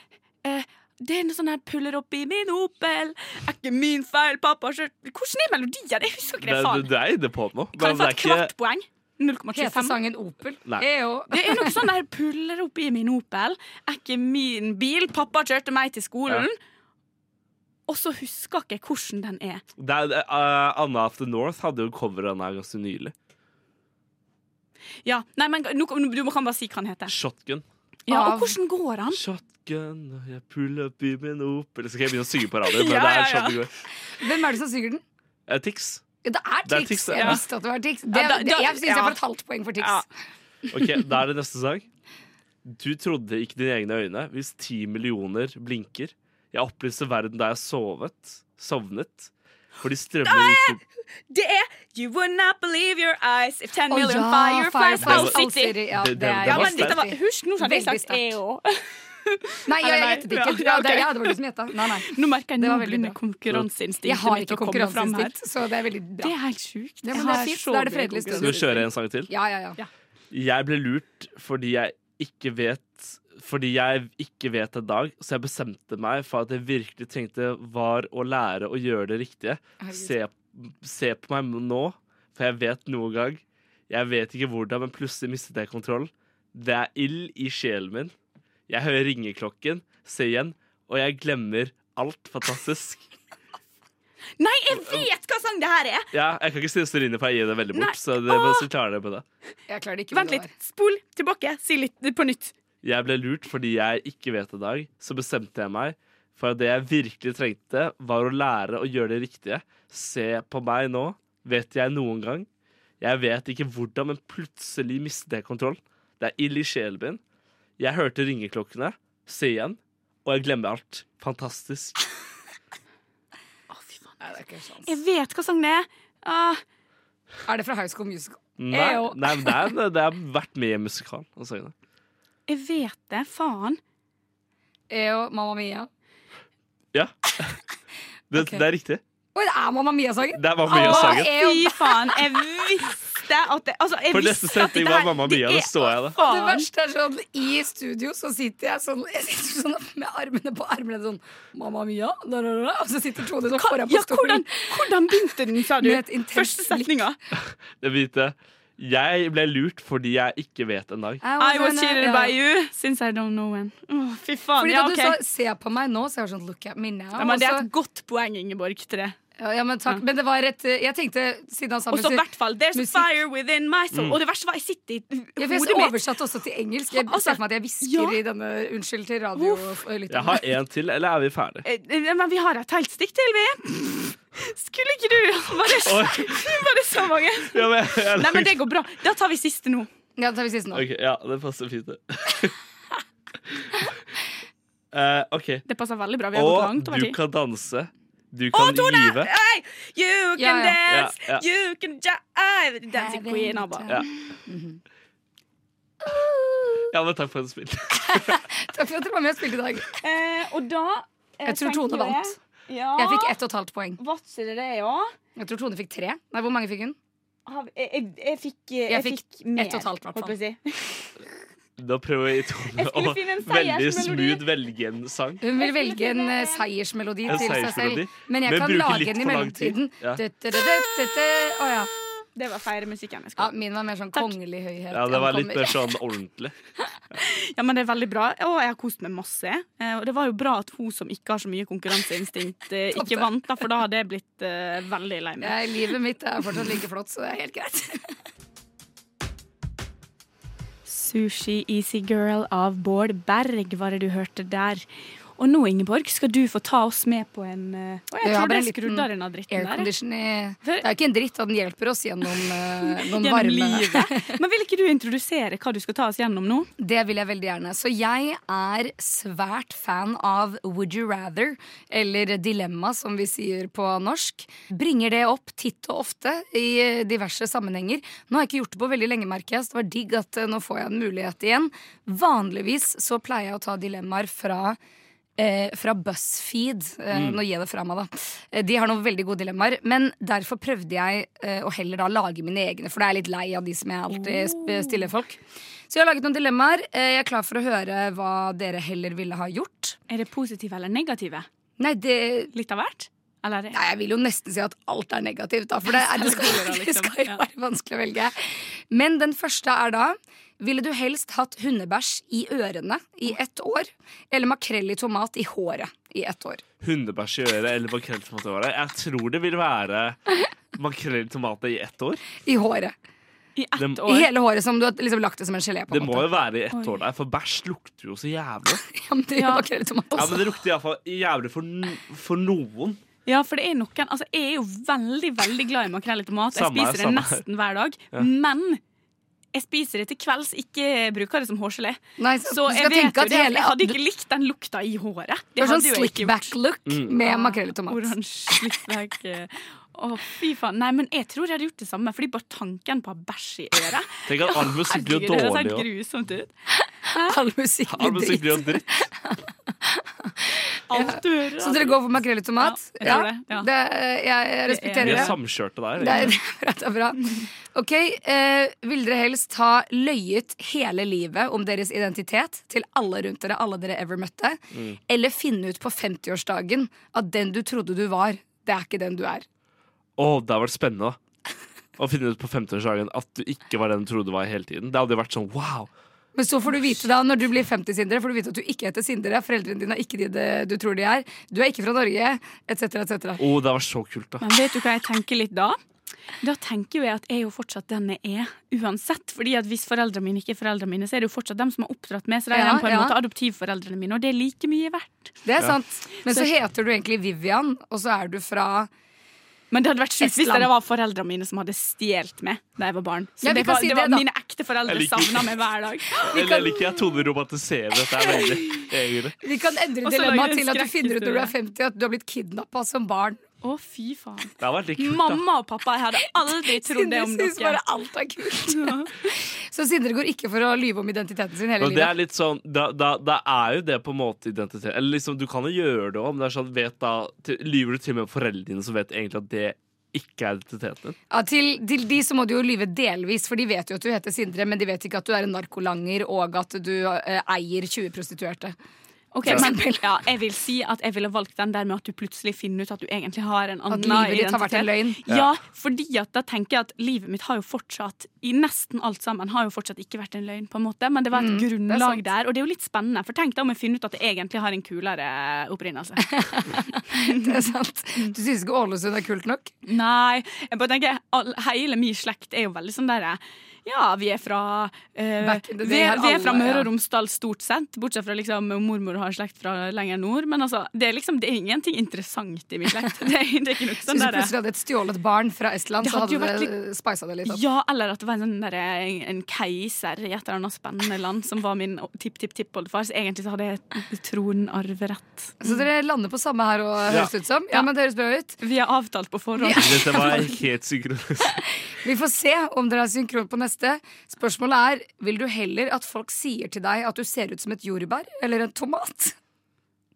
Eh, det er noe sånn her puller opp i min Opel. Er ikke min feil, pappa kjørte Hvordan er melodien? Jeg husker
Det,
ikke det,
det,
faen.
det er jeg inne på nå.
Kan jeg
Men
få
det
et
er ikke
kvart poeng?
Heter
0,25.
sangen Opel? Eh,
Nei.
EO.
Det er noe sånn der puller opp i min Opel. Er ikke min bil. Pappa kjørte meg til skolen. Og så husker ikke jeg hvordan den er.
det er, det- uh, Anna of the North hadde jo cover av den her ganske nylig.
Ja, nei, men nå, Du må kan bare si hva den heter.
Shotgun.
Ja,
Av-
og hvordan går han?
Shotgun, og jeg puller opp i min Opel Så skal jeg begynne å synge på radio, men
Ja,
det er
ja, ja.
sånn det går.
Hvem er det som synger den?
Eh, Tix.
Ja, det
Det er
er Tix.
Tix, ja.
Jeg visste at det var Tix. Det,
Ja, da-
det,
da-
jeg syns jeg
ja.
får et halvt poeng for Tix.
Ja.
Ok, Da er det neste sang. Du trodde ikke dine egne øyne hvis ti millioner blinker. Jeg opplyser verden da jeg sovet. Sovnet. For de strømmer ut
Det er You would not believe your eyes if 10
Å
million
ja,
fireflies
Fireflies
all
All
city.
Ja,
Det-
det,
det-
er
Ja,
var
men dette var,
riktig.
husk, nå hadde jeg
Veldig
sagt
sterkt.
EO.
Nei, jeg, jeg
Nei,
gjettet ikke.
ja,
Ja,
ok.
det, ja, det var du som gjetta. Nei, nei.
Nå merker jeg nå
Det var veldig
begynner
bra. Jeg
konkurranseinstinktet
har
mitt å
ikke
komme fram her.
konkurranseinstinkt, så det er veldig bra.
Det er helt sjukt.
Ja,
Jeg
men det er
har
fint.
så
Da er det
bra
fredelig stund.
Skal vi kjøre en sang til?
Ja, ja, ja.
Jeg ble lurt fordi jeg ikke vet Fordi jeg ikke vet en dag, så jeg bestemte meg for at jeg virkelig trengte var å lære å gjøre det riktige. Se, se på meg nå, for jeg vet noen gang. Jeg vet ikke hvordan, men plutselig mistet jeg kontroll. Det er ild i sjelen min. Jeg hører ringeklokken, se igjen, og jeg glemmer alt fantastisk.
Nei, jeg vet hva sang det her er!
Ja, jeg kan ikke stille stille inne, for jeg gir det veldig
Nei.
bort. Så det, men så klarer jeg på det.
Jeg klarer det ikke. men
Vent
det
litt.
var-
Spol tilbake. Si litt på nytt.
Jeg ble lurt fordi jeg ikke vet det i dag. Så bestemte jeg meg for at det jeg virkelig trengte, var å lære å gjøre det riktige. Se på meg nå. Vet jeg noen gang? Jeg vet ikke hvordan, men plutselig mistet jeg kontroll. Det er ild i sjelen min. Jeg hørte ringeklokkene. Se igjen. Og jeg glemmer alt. Fantastisk.
Nei, det er ikke sjans.
Jeg vet hva sang det er. Ah,
Er det fra High School Musical?
Nei,
Eyo.
nei men det, er, det har vært med i en musikal. altså. den sangen.
jeg vet det. Faen.
Eo, E Mamma Mia?
Ja. Det,
Ok.
det er riktig.
Oi, det er Mamma Mia-sangen!
Det var med i
Åh,
sangen.
Eo.
Fy faen. Jeg visste at det Altså, jeg
For neste
visste at
setning
det
var
her-
Mamma Mia.
det
Da så jeg det.
Det
Faen.
verste er sånn I studio så sitter jeg sånn Jeg sitter sånn med armene på armene sånn Mamma mia! Da, da, da, da. Og så sitter Tone sånn foran på
Ja, hvordan,
stolen.
hvordan begynte den, sa du?
Med et intenst
Første setninga.
Det hvite. Jeg ble lurt fordi jeg ikke vet en dag.
I was cheated by you since I don't know when. Åh, fy faen.
Fordi
Ja,
da
OK.
du sa 'se på meg nå', så jeg var sånn 'look at me now'.
Ja, men det er
og
et godt poeng, Ingeborg, til det.
så- ja, ja, men takk. Men det var et Jeg tenkte, siden han sa
Og så i
musikk
hvert fall There's
musikk.
fire within my soul.
Mm.
Og det verste var jeg sitter i
jeg
hodet
jeg
mitt.
oversatte også til engelsk. Jeg
Altså,
ser for meg at jeg hvisker
ja.
i denne Unnskyld til radio. og lytterne.
Jeg har en til, eller er vi ferdige?
Eh, eh, Men vi har et helt stikk til, vi. Skulle ikke du Var det,
Oi.
var det så mange?
Ja, men, jeg,
Nei, men det går bra. Da tar vi siste nå.
Ja, da tar vi siste nå.
Ok, ja, det passer fint, det. Eh, OK.
Det passer veldig bra. Vi har gått
Og
langt over
du
tid.
kan danse. Du kan give.
Hey, you
Ja,
can
ja.
dance,
Ja, ja.
you can jive Dancing queen, ABBA.
Ja. Ja, men takk for et spill.
Takk for at dere var med og spilte i dag.
Eh, og da eh,
Jeg tror
tenker
Tone vant.
Ja.
Jeg fikk ett og et halvt poeng.
Vadsel er det, ja.
Jeg tror Tone fikk tre. Nei, hvor mange fikk hun?
Har vi- Jeg, jeg, jeg fikk, eh,
Jeg
jeg
fikk
fikk mer,
ett og et halvt, hvertfall.
holdt på å si.
Da prøver jeg
Jeg
Tone å
skulle finne en
veldig
seiersmelodi.
smooth velge en sang.
Hun vil
Jeg skulle
velge en
finne
eh,
en-
seiersmelodi
En
til seg
seiersmelodi,
selv. Men jeg
men
kan
bruke
lage
litt
en i
for lang tid.
mellomtiden.
Ja.
Du, du, du, du, du, du. Å, ja.
Det var feiremusikken jeg
ja,
skulle ha.
min var mer sånn
Takk.
kongelig høyhet.
Ja, det var litt
ankommer.
mer sånn ordentlig.
Ja, men det er veldig bra. Og jeg har kost meg masse. Eh, Og det var jo bra at hun som ikke har så mye konkurranseinstinkt, eh,
Topp
ikke
det.
vant, da, for da hadde jeg blitt eh, veldig lei meg.
Nei, livet mitt er fortsatt like flott, så det er helt greit.
Sushi Easy Girl av Bård Berg var det du hørte der. Og nå, Ingeborg, skal du få ta oss med på en eh, Å, jeg
Ja,
trodde
bare
jeg
en liten
skrudde av denne dritten der. jeg.
Aircondition i Det er jo ikke en dritt, da. Den hjelper oss gjennom eh, noen
Gjennom
varme
livet. Men vil ikke du introdusere hva du skal ta oss gjennom nå?
Det vil jeg veldig gjerne. Så jeg er svært fan av Would you rather, eller Dilemma, som vi sier på norsk. Bringer det opp titt og ofte i diverse sammenhenger. Nå har jeg ikke gjort det på veldig lenge, merker jeg, så det var digg at eh, nå får jeg en mulighet igjen. Vanligvis så pleier jeg å ta dilemmaer fra Eh, fra BuzzFeed. Eh, Nå gir jeg det fra meg, da. Eh, de har noen veldig gode dilemmaer. Men derfor prøvde jeg eh, å heller da lage mine egne, for da er jeg litt lei av de som jeg alltid sp- stiller folk. Så jeg har laget noen dilemmaer. Eh, jeg er klar for å høre hva dere heller ville ha gjort.
Er det positive eller negative?
Nei, det
Litt av hvert? Eller er det
Nei, jeg vil jo nesten si at alt er negativt, da, for det, er, det, skal,
Selvfølgelig,
det skal jo
liksom. Ja.
være vanskelig å velge. Men den første er da Ville du helst hatt hundebæsj i ørene i ett år, eller makrell i tomat i håret i ett år?
Hundebæsj i øret eller makrell i tomat i året. Jeg tror det vil være makrell i tomat i ett år.
I håret.
i ett
det-
I
år?
hele håret som du har liksom lagt det som en gelé på.
Det
en
må
måte.
jo være i ett år der, for bæsj lukter jo så jævlig.
Ja, men det gjør
Ja.
makrell i tomat
Ja,
også.
men det lukter iallfall jævlig for, n- for noen.
Ja, for det er noen Altså, jeg er jo veldig, veldig glad i makrell i tomat. Jeg
Samme her,
spiser det
samme her.
nesten hver dag. Men jeg spiser det til kvelds, ikke bruker det som hårgelé.
Nei, så,
Så
du
jeg
skal
vet
tenke
jo
at
det, at
hele
jeg hadde ikke likt den lukta i håret.
Det er sånn
hadde jo jeg ikke gjort.
slickback-look
Mm.
med makrell i tomat.
Oransje slickback. eh. Å, fy faen. Nei, men jeg tror jeg hadde gjort det samme, fordi bare tanken på å ha bæsj i øret
Tenk at all musikk blir jo
Herregud, det
dårlig.
ser
og-
grusomt ut.
All musikk
All
blir
musikk
dritt.
blir jo dritt.
Alt du hører.
Så dere går for makrell i tomat?
Ja, jeg tror det, ja.
det, eh, jeg, jeg
Det er-
Vi
respekterer
er
det.
samkjørte der.
Det er,
egentlig.
det er bra. Det er bra. Ok, eh, Vil dere helst ha løyet hele livet om deres identitet til alle rundt dere, alle dere ever møtte,
Mm.
eller finne ut på 50-årsdagen at den du trodde du var, det er ikke den du er?
Å, det har vært spennende da. å finne ut på 50-årsdagen at du ikke var den du trodde du var hele tiden. Det hadde jo vært sånn wow.
Men så får du vite da, når du blir 50 Sindre, får du vite at du ikke heter Sindre. Foreldrene dine er ikke de det- du tror de er. Du er ikke fra Norge, etc., etc.
Å, det var så kult, da.
Men vet du hva jeg tenker litt da? Da tenker jo jeg at jeg er jo fortsatt den jeg er, uansett. Fordi at hvis foreldrene mine ikke er foreldrene mine, så er det jo fortsatt dem som har oppdratt meg. Så de er
Ja,
dem på en
ja.
måte adoptivforeldrene mine, og det er like mye verdt.
Det er sant. Men
Så-
så heter du egentlig Vivian, og så er du fra
Men det hadde vært sjukt hvis
Estland.
det var foreldrene mine som hadde stjålet meg da jeg var barn. Så
Ja, vi
det
kan
var,
si
det
det,
var
da.
mine ekte foreldre
Jeg liker-
savna meg hver dag.
Jeg jeg liker jeg Tone romantiserer dette her veldig. egentlig.
Vi kan endre
Og så lager
dilemmaet
du en
til at du finner ut når du er
skrekkhistorie.
50 at du har blitt kidnappa som barn.
Å, fy faen.
Det hadde vært litt kult, da.
Mamma og pappa jeg hadde aldri trodd det
Sindre
om
syns
dere.
bare alt er kult. Så Sindre går ikke for å lyve om identiteten sin hele
Og det
livet.
er litt sånn, da, da, da er jo det på en måte identitet Eller liksom, Du kan jo gjøre det òg, men det er sånn, vet da, til, lyver du til og med foreldrene dine, som vet egentlig at det ikke er identiteten din?
Ja, til, til de så må du jo lyve delvis, for de vet jo at du heter Sindre, men de vet ikke at du er en narkolanger og at du eh, eier 20 prostituerte.
Ok,
For
men ja, jeg vil si at jeg ville valgt den der med at du plutselig finner ut at du egentlig har en annen
At livet ditt har vært en løgn.
Ja, fordi at da tenker jeg at livet mitt har jo fortsatt, i nesten alt sammen, har jo fortsatt ikke vært en løgn, på en måte. Men det var et grunnlag
Mm. sant.
der, og det er jo litt spennende. For tenk da om jeg finner ut at jeg egentlig har en kulere opprinnelse.
Det er sant. Du syns ikke Ålesund er kult nok?
Nei, jeg bare tenker, all, hele min slekt er jo veldig sånn derre ja, vi er fra eh,
Back in the
vi,
day her
vi er fra
alle,
Møre
ja.
og Romsdal stort sett, bortsett fra liksom mormor har slekt fra lenger nord. Men altså, det er liksom, det er ingenting interessant i min slekt. Det er, det er ikke noe
Hvis
sånn
du
derre
plutselig hadde et stjålet barn fra Estland,
Det
så
hadde
hadde
jo vært
det eh, spisa det litt opp.
ja, eller at det var en, sånn der, en, en keiser i et eller annet spennende land som var min tipp-tipp-tippoldefar. Så egentlig så hadde jeg tronarverett.
Så dere lander på samme her, og høres ut som. Ja, men det høres bra ut.
Vi har avtalt på forhånd.
Dette var helt synkronisert.
Vi får se om dere er synkron på neste. Spørsmålet er vil du heller at folk sier til deg at du ser ut som et jordbær eller en tomat.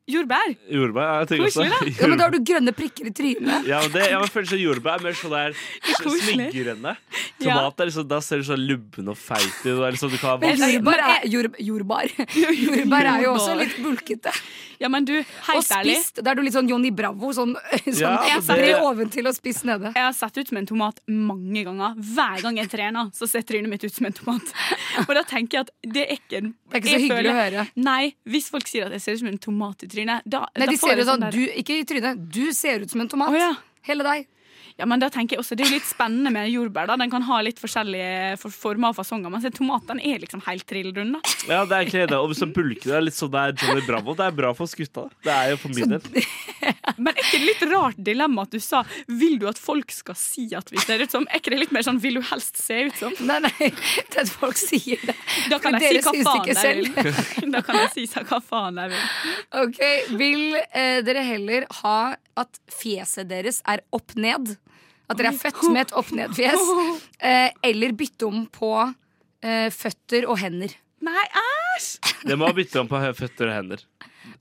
Jordbær!
Jordbær? ja, Jeg tenker også.
Ja, men Da har du grønne prikker i trynet.
Ja, men det, ja, men føler seg jordbær er mer sånn der
Koselig.
smigrende.
Ja.
Tomat er liksom, da ser du så lubben og feit ut. og det er Liksom, du kan ha
Men
masse-
jordbær er, jord, jordbær. jordbær er jo også litt bulkete.
Ja, men du,
Og
helt ærlig.
spist. Da er du litt sånn Johnny Bravo. Sånn, sånn
Ja,
det-
bred oventil og spiss nede.
Jeg har sett ut som en tomat mange ganger. Hver gang jeg trener, så ser trynet mitt ut som en tomat. Og da tenker jeg at det er ikke
Det er ikke så
jeg
hyggelig å
føler-
høre.
Nei, hvis folk sier at jeg ser ut som en tomat i trynet, da,
Nei,
da
de
får
ser
jeg
ut
sånn
sånn,
der-
du, Ikke i trynet. Du ser ut som en tomat.
Å, ja.
Hele deg.
Ja, men da tenker jeg også, Det er jo litt spennende med jordbær. da Den kan ha litt forskjellige for former og fasonger. Mens en tomat den er liksom helt trillrund. da
Ja, det er egentlig det. Og så bulker det er litt sånn der Johnny Bravo. Det er bra for oss gutta. da. Det er jo for min del.
Men er ikke det litt rart dilemma at du sa Vil du at folk skal si at vi ser ut som? Er ikke det litt mer sånn vil du helst se ut som?
Nei, nei, det er at folk sier det.
Da kan
Men
jeg si
dere
hva
syns
faen
ikke
jeg vil. Da kan jeg si så hva faen jeg vil.
Ok, Vil eh, dere heller ha at fjeset deres er opp ned? At dere er født med et opp ned-fjes? Eh, eller bytte om på eh, føtter og hender?
Nei, æsj!
Det må bytte om på hø- føtter og hender.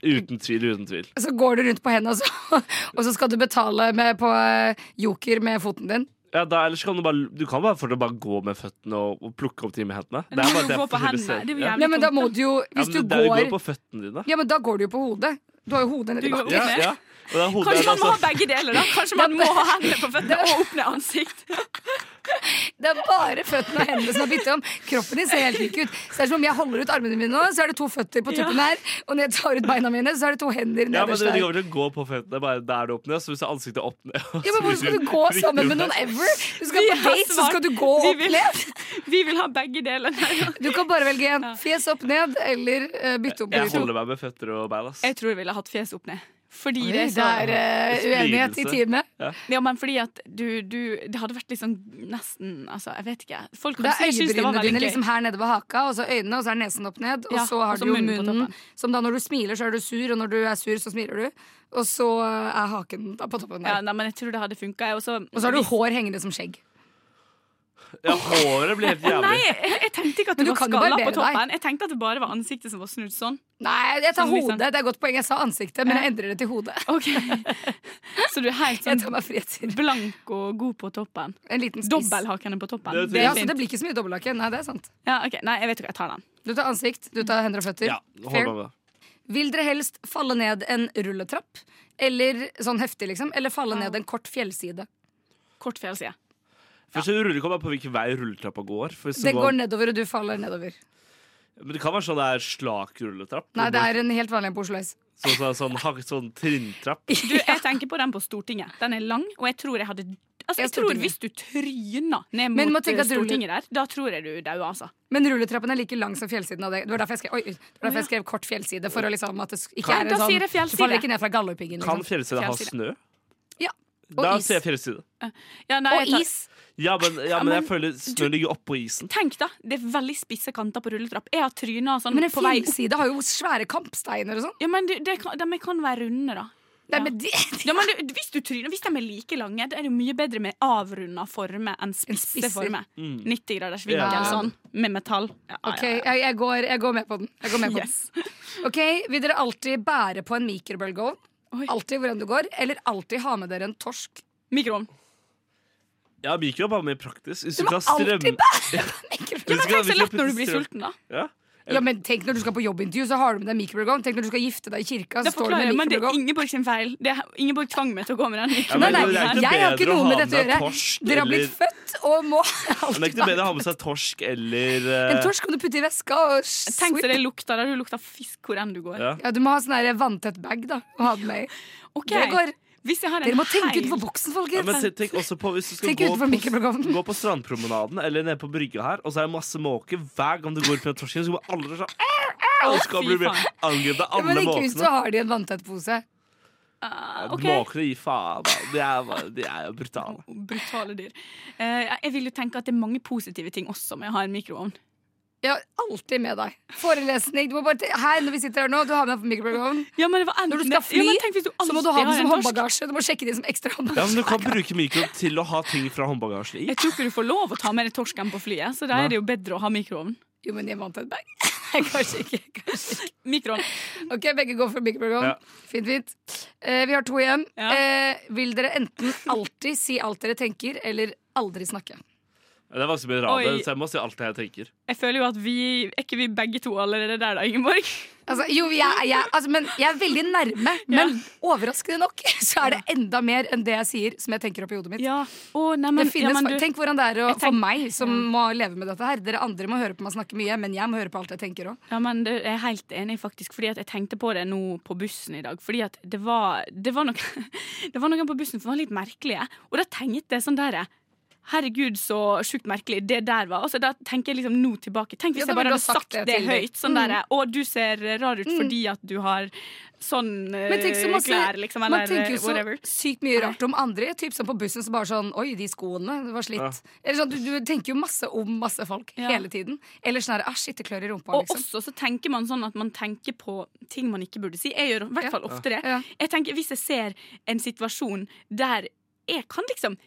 Uten tvil, uten tvil.
Så går du rundt på hendene, og så, og så skal du betale med, på eh, joker med foten din?
Ja, da, ellers kan du bare Du kan bare, for å bare gå med føttene og, og plukke opp ting med hendene.
Men du må
bare
jo
det
gå på
for hele
hendene.
serien.
Det er jo
Ja.
jævlig
Ja, men da må du jo Hvis
ja,
du
men det er jo
går
på føttene dine.
Ja, men da går du jo på hodet. Du har jo hodet nedi
Du
bakken.
går-
Ja, ja. Og da er hodet,
Kanskje man må ha
altså,
begge deler, da. Kanskje man må ha hendene på føttene og opp ned ansikt.
Det er bare føttene og hendene som er byttet om. Kroppen din ser helt lik ut. Så det er som om jeg holder ut armene mine nå, så er det to føtter på tuppen her. Og når jeg tar ut beina mine, så er det to hender
ja, men
nederst
det, det
der.
går vel til å gå på føttene. Bare der det åpner, så hvis ansiktet er opp ned og
Ja,
så
men Hvorfor skal du gå
trykker
sammen
du
med noen
der.
ever? Du skal på date, så skal du gå
Vi
opp
vil,
ned.
vi vil ha begge deler.
Du kan bare velge en. Fjes opp ned eller eh, bytte opp.
Jeg
på de to.
holder meg med føtter og bein, ass.
Jeg tror jeg ville hatt fjeset opp ned. Fordi
Det
det er så
er eh, uenighet i
Splidelse.
teamet.
Ja, men fordi at du, du Det hadde vært liksom nesten Altså, jeg vet ikke. Folk hadde
Det er
sikkert syntes det var
øyebrynene
veldig
dine
gøy.
liksom her nede ved haka, og så øynene, og så er nesen opp ned. Og
Ja,
så har
og så
du jo
munnen på
munnen,
toppen.
som da når du smiler, så er du sur, og når du er sur, så smiler du. Og så er haken da på toppen
Ja,
der.
nei, men jeg tror det hadde funka. Og så
Og så har du hår hengende som skjegg.
Ja, håret blir helt
Nei,
jævlig.
jeg, jeg tenkte ikke at
Men
det
du
var
kan jo
skalla
barbere
på
deg.
toppen. Jeg tenkte at det bare var ansiktet som var snudd sånn.
Nei, jeg tar
Som liksom-
hodet. Det er et godt poeng. Jeg sa ansiktet, men jeg endrer det til hodet.
Ok Så du er helt
Jeg tar
sånn
meg friheter.
blank og god på toppen.
En liten spiss.
Dobbelthakene på toppen.
Det tror
Det
Ja,
er
så
fint.
det blir ikke så mye dobbelthake. Nei, det er sant.
Ja, ok, Nei, jeg vet ikke. Jeg tar den.
Du tar ansikt, du tar hender og føtter.
Ja, hold
Fair.
meg med.
Vil dere helst falle ned en rulletrapp? Eller sånn heftig, liksom? Eller falle ned en kort fjellside?
Kort fjellside.
Først ruller kommer jeg på hvilken vei rulletrappa går. For hvis
Det
den
går nedover, og du faller nedover.
Men det kan være sånn det er slak rulletrapp.
Nei, det er en helt vanlig en på Oslo S.
Sånn, sånn, sånn, hak- sånn trinntrapp.
Du, jeg tenker på den på Stortinget. Den er lang, og jeg tror jeg hadde Altså,
Ja,
jeg tror
Stortinget.
Hvis du tryna ned
Men må
mot
tenke
eh,
at du-
Stortinget der, da tror jeg du dauer, altså.
Men rulletrappen er like lang som fjellsiden. av det Det var derfor jeg skrev, oi, det var derfor jeg skrev kort fjellside. For å liksom at det sk- ikke
Ja,
er
da
en sånn
sier jeg fjellside.
Du faller ikke ned fra Galdhøpiggen.
Kan
Liksom.
fjellside ha
Fjellside.
snø?
Ja.
da
Og is.
ser jeg fjellside.
Ja, nei, jeg
Og
tar-
is.
Ja, men, ja,
Ja,
men jeg
men
føler snø ligger oppå isen.
Tenk, da. Det er veldig spisse kanter på rulletrapp. Jeg har tryna sånn
Men en
på vei opp.
fjellside har jo svære kampsteiner og sånn.
Ja, men det, det kan, de kan være runde, da.
Nei,
Ja.
men de,
Ja, men du, hvis du tryner, hvis de er like lange, da er det jo mye bedre med avrunda former enn spisse
spisser.
former.
Mm.
90 graders vinkel,
Ja.
sånn, med metall. Ja, ja,
Ok,
ja, ja.
jeg, jeg, går, jeg går med på den. Jeg går med på
Yes.
den. Ok, Vil dere alltid bære på en mikrobølgeovn?
Oi.
Alltid hvor enn du går? Eller alltid ha med dere en torsk?
Mikroovn.
Ja, mikro er bare mer praktisk. Hvis
Du
du,
må
kan
alltid
strømme
Ja, men
Mikrobølgeovn.
tenk så lett når du blir sulten, da.
Ja.
Ja, men Tenk når du skal på jobbintervju, så har du med deg mikrobølgeovn. Tenk når du skal gifte deg i kirka, så
Det
står liksom du
forklarer
med
jeg, men det er
mikrobølgeovn.
Ingeborg sin feil. Det er, Ingeborg tvang meg til å gå med den
Ja, men
Nei,
mikroovnen.
nei,
det er ikke
jeg har ikke
bedre å
noe med
ha
dette å
med
gjøre.
torsk
Dere har blitt
eller-
født og må
Men det er
alltid
ikke noe bedre å ha med seg torsk eller eh,
En torsk kan du putte i veska og
Tenk så
swipe.
det lukter da. Du lukter fisk hvor enn du går.
ja.
Ja, Du må ha sånn der vanntett bag da, å ha den med i.
Ok,
Det går.
Hvis jeg har en
Dere må tenke
heil-
utenfor boksen,
Ja, men
folkens.
tenk- tenk også på hvis du skal
Tenk
gå
utenfor mikrobølgeovnen.
Gå på strandpromenaden eller nede på brygga her, og så er det masse måker. Hver gang du går på torsken, så kommer alle sånn «Au, au!» Og så skal
Fy
du bli
faen.
angrepet av
Ja, men
alle
ikke hvis du
måkene.
har de i en vanntett pose.
Ah, ok.
Måkene gir faen. da. De er, bare- de er jo brutale.
Brutale dyr. Eh, jeg vil jo tenke at det er mange positive ting også med å ha en mikroovn.
Ja, alltid med deg. Forelesning. Du må bare te- her når vi sitter her nå, du har med deg mikrobølgeovnen.
Ja, men det var enten-
Når du skal fly,
ja, men tenk hvis du
Så må du ha sånn
alltid har en
den som
torsk.
håndbagasje. Du må sjekke den som ekstra
Ja, men
håndbagasje.
Du kan bruke mikroen til å ha ting fra håndbagasjen i.
Jeg tror ikke du får lov å ta med deg torsken på flyet, så da
Nei.
er det jo bedre å ha mikroovn.
Jo, men jeg vant et bag. Kanskje ikke. Kanskje. ikke.
Mikroovn.
Ok, begge går for mikrobølgeovn.
Ja.
Fint, fint. Eh, vi har to igjen.
Ja.
Eh, vil dere enten alltid si alt dere tenker, eller aldri snakke?
Det er vanskelig å bedra det,
Oi.
så jeg må si alt det jeg tenker.
Jeg føler jo at vi Er ikke vi begge to allerede der, da, Ingeborg?
Altså, jo, jeg, jeg, altså, men jeg er veldig nærme, men overraskende nok så er det enda mer enn det jeg sier, som jeg tenker opp i hodet mitt.
Ja. Å, nei, men,
Det finnes,
ja, men
fa-
du,
tenk hvordan det er å,
Jeg
for
tenk-
meg som må leve med dette her. Dere andre må høre på meg snakke mye, men jeg må høre på alt jeg tenker òg.
Ja, men det, Jeg er helt enig, faktisk. Fordi at Jeg tenkte på det nå på bussen i dag. Fordi at Det var, det var, noen, det var noen på bussen som var litt merkelige. Og da tenkte jeg sånn der Herregud, så sjukt merkelig det der var. Altså, da tenker jeg liksom nå tilbake. Tenk
Ja,
hvis
da
jeg bare
ville du
hadde
ha sagt
sagt det,
det til dem. Mm.
høyt. Sånn derre Å, du ser rar ut fordi at du har sånn eh,
Men tenk så masse-
klær, liksom.
Man
Eller
tenker jo
eh,
så
whatever.
sykt mye rart om andre. Typ som på bussen så bare sånn Oi, de skoene, det var slitt. Eller sånn, du, du tenker jo masse om masse folk
Ja.
hele tiden. Eller sånn her, æsj, det klør i rumpa,
Og
liksom.
også så tenker man sånn at man tenker på ting man ikke burde si. Jeg gjør i hvert fall ofte det.
Ja.
Jeg tenker Hvis jeg ser en situasjon der jeg kan liksom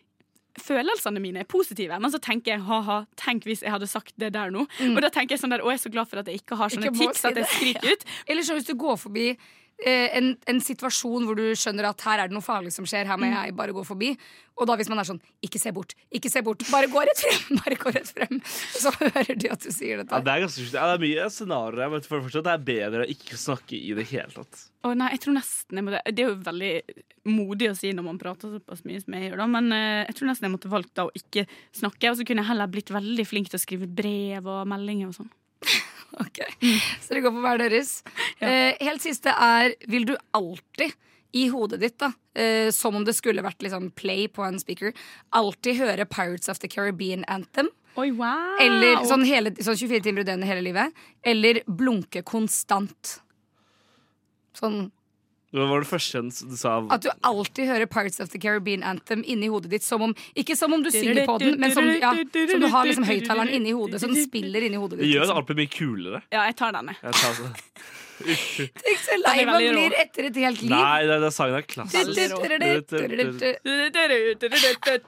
Følelsene mine er positive, men så tenker jeg ha-ha, tenk hvis jeg hadde sagt det der nå. Og da tenker jeg sånn der, å, jeg er så glad for at jeg ikke har sånne
Mm. Ikke må
tics
si
at jeg skriker ut.
Eller sånn hvis du går forbi eh, en, en situasjon hvor du skjønner at her er det noe farlig som skjer, her må
Mm.
jeg bare gå forbi. Og da hvis man er sånn ikke se bort, ikke se bort, bare gå rett frem, bare gå rett frem. Så hører de at du
Ja,
sier dette.
det er ganske sjukt. ja, det er mye scenarioer her, men for det første det er bedre å ikke snakke i det hele tatt.
Å nei, jeg tror nesten jeg måtte, Det er jo veldig modig å si når man prater såpass mye som jeg gjør, da, men eh, jeg tror nesten jeg måtte valgt da å ikke snakke. Og så kunne jeg heller blitt veldig flink til å skrive brev og meldinger og sånn.
Ok, Så det går på hver deres. Eh, helt siste er Vil du alltid i hodet ditt, da, eh, som om det skulle vært liksom play på en speaker, alltid høre Pirates of the Caribbean Anthem?
Oi, wow!
Eller sånn, hele, sånn 24 timer i døgnet hele livet? Eller blunke konstant? Sånn
Det var det første du sa.
at du alltid hører Pirates of the Caribbean Anthem inni hodet ditt. Som om, ikke som om du synger på den, men som, ja, som du har liksom høyttaleren inni hodet, så den spiller inni hodet
Det
ditt.
gjør
liksom.
alt mye kulere.
Ja, jeg tar den, jeg.
Jeg tar sånn.
Tenk så lei
Den er
man
veldig rå.
blir etter et helt liv.
Nei, den sangen er klassisk.
Og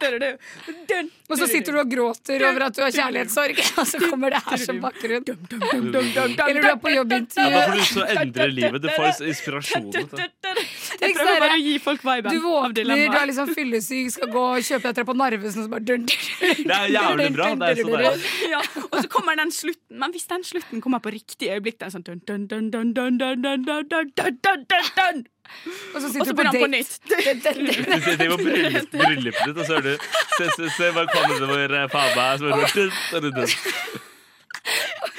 Og
så sitter du og gråter over at du har kjærlighetssorg, og så kommer det her som bakgrunn. Eller du er på
Ja, da får
jobbintervju.
du lyst til å endre livet. Du får inspirasjon. vet du.
Jeg prøver bare å gi folk viben
Du
av
våkner, du er
dilemmaet.
liksom fyllesyk, skal gå og kjøpe deg på Narvesen, og så bare dun, dun, dun.
Det er jævlig bra. Det er sånn det er.
Ja, og så kommer den slutten, men hvis den slutten kommer på riktig øyeblikk, den sånn dun, dun, dun, dun, dun, dun, dun, dun, dun, dun, dun, dun, dun.
Og så
Og så
sitter du på
begynner han på
date.
nytt.
Du sitter på bryllup- bryllupet ditt, og så hører du Se, se, se hva kommer det vår eh, faen meg som er rundt. rundt, rundt.
Å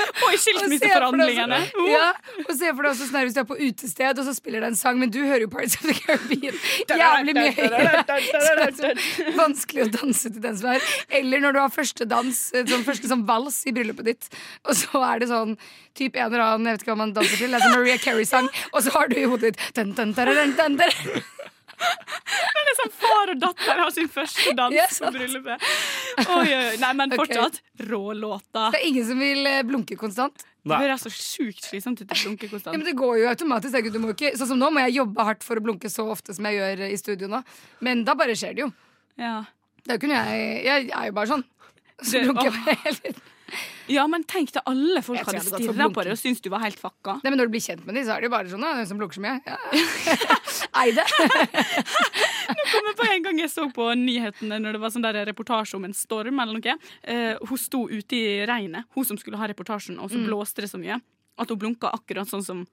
Og i skilsmisseforhandlingene.
Og se for deg sånn- også- Ja, og se for deg også sånn her hvis du er på utested, og så spiller det en sang, men du hører jo Pirates of the Caribbean jævlig mye høyere. Så det er sånn vanskelig å danse til den som er. Eller når du har første dans, eh, sånn første sånn vals i bryllupet ditt, og så er det sånn typ en eller annen, jeg vet ikke hva man danser til, det er sånn Maria Carey-sang, og så har du i hodet ditt dun, dun, dun, dun, dun, dun.
Det er som far og datter har sin første dans
Ja,
på
sant.
bryllupet. Oi, oi, oi. Nei, men
Ok.
fortsatt rå låta.
Det er ingen som vil eh, blunke konstant.
Det høres så sjukt slitsomt ut å blunke
Ja, men
konstant.
det går jo automatisk. Herregud, du må jo ikke, sånn som nå må jeg jobbe hardt for å blunke så ofte som jeg gjør i studio nå. Men da bare skjer det jo.
Ja.
Da kunne jeg, jeg er jo bare sånn. Så
Det-
blunker jeg
åh.
bare hele tiden.
ja, men tenk deg alle folk
Jeg tror
hadde
jeg hadde gått for
stirra på
blunking.
det og syntes du var helt fucka.
Nei, men Når du blir kjent med dem, så er det jo bare sånn. «Å, Hun som blunker så mye. Ja. Ei det.
Men på en gang jeg så på nyhetene når det var sånn der reportasje om en storm eller noe. Eh, hun sto ute i regnet, hun som skulle ha reportasjen, og så
Mm.
blåste det så mye at hun blunka akkurat sånn som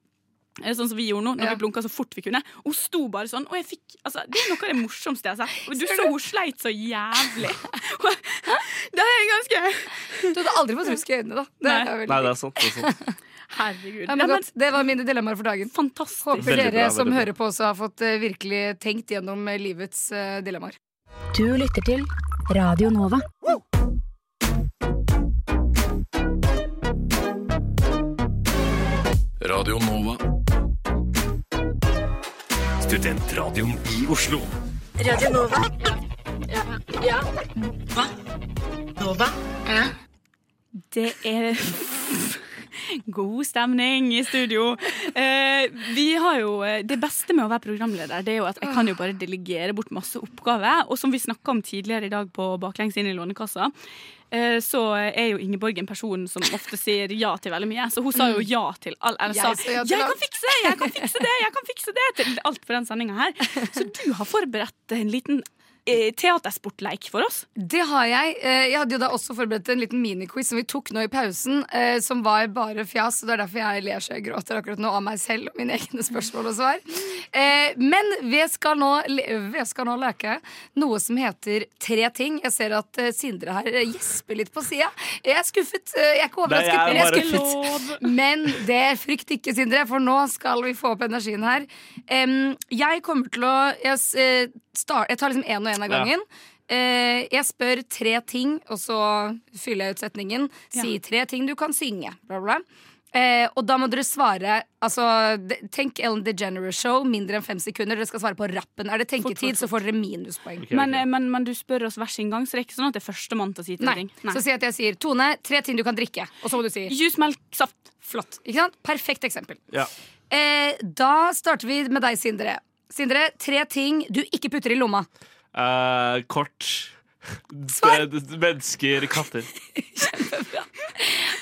eh, Sånn som vi gjorde nå, når
Ja.
vi blunka så fort vi kunne. Og Hun sto bare sånn. Og jeg fikk, altså, det er noe av det morsomste jeg har sett. Og Du så hun sleit så jævlig. Hæ? Det er ganske
Du hadde aldri fått rusk i øynene, da. Det
Nei.
er veldig-
Nei, det er sant. Det er sant.
Herregud.
Ja, men
Nei, men,
godt. Det var mine dilemmaer for dagen.
fantastisk.
Håper
Veldig
dere
bra, veldig
som
bra.
hører på, også har fått eh, virkelig tenkt gjennom eh, livets eh, dilemmaer.
Du lytter til Radio Nova.
Radio Nova. Studentradioen i Oslo.
Radio Nova.
Det er god stemning i studio. Eh, vi har jo, eh, det beste med å være programleder Det er jo at jeg kan jo bare delegere bort masse oppgaver. Og som vi snakka om tidligere i dag på Baklengs inn i Lånekassa, eh, så er jo Ingeborg en person som ofte sier ja til veldig mye. Så hun sa jo ja til all Eller
Mm. Jeg
sa
sa ja
'jeg
til
kan
alt.»
fikse det, jeg kan fikse det', jeg kan fikse det til alt for den sendinga her. Så du har forberedt en liten eh, teatersportleik for oss.
Det har jeg. Eh, Jeg hadde jo da også forberedt en liten miniquiz som vi tok nå i pausen, eh, som var bare fjas. og Det er derfor jeg ler så jeg gråter akkurat nå av meg selv og mine egne spørsmål og svar. Eh, Men vi skal nå, le- vi skal nå leke noe som heter Tre ting. Jeg ser at eh, Sindre her eh, gjesper litt på sida. Jeg er skuffet. Eh, Jeg er ikke
Nei, jeg
overrasket,
er
men jeg er
bare-
skuffet. Men det frykt ikke, Sindre, for nå skal vi få opp energien her. Em, jeg kommer til å Jeg, s- eh, star- jeg tar liksom én og én av
Ja.
gangen. Eh, jeg spør tre ting, og så fyller jeg ut setningen. Si tre ting du kan synge. Bla, bla. Eh, og da må dere svare altså, de- Tenk Ellen DeGeneres Show, mindre enn fem sekunder. Dere skal svare på rappen. Er det tenketid, så får dere minuspoeng.
Ok, ok.
Men, eh, men, men du spør oss hver sin gang, så det er ikke sånn at det er førstemann til å si tre
Nei.
ting. Nei.
Så si at jeg sier Tone, tre ting du kan drikke. Og så må du si
Juice, melk, saft.
Flott. Ikke sant? Perfekt eksempel.
Ja.
Eh, da starter vi med deg, Sindre. Sindre, tre ting du ikke putter i lomma.
Eh, kort. Eh, D- d- Mennesker, katter.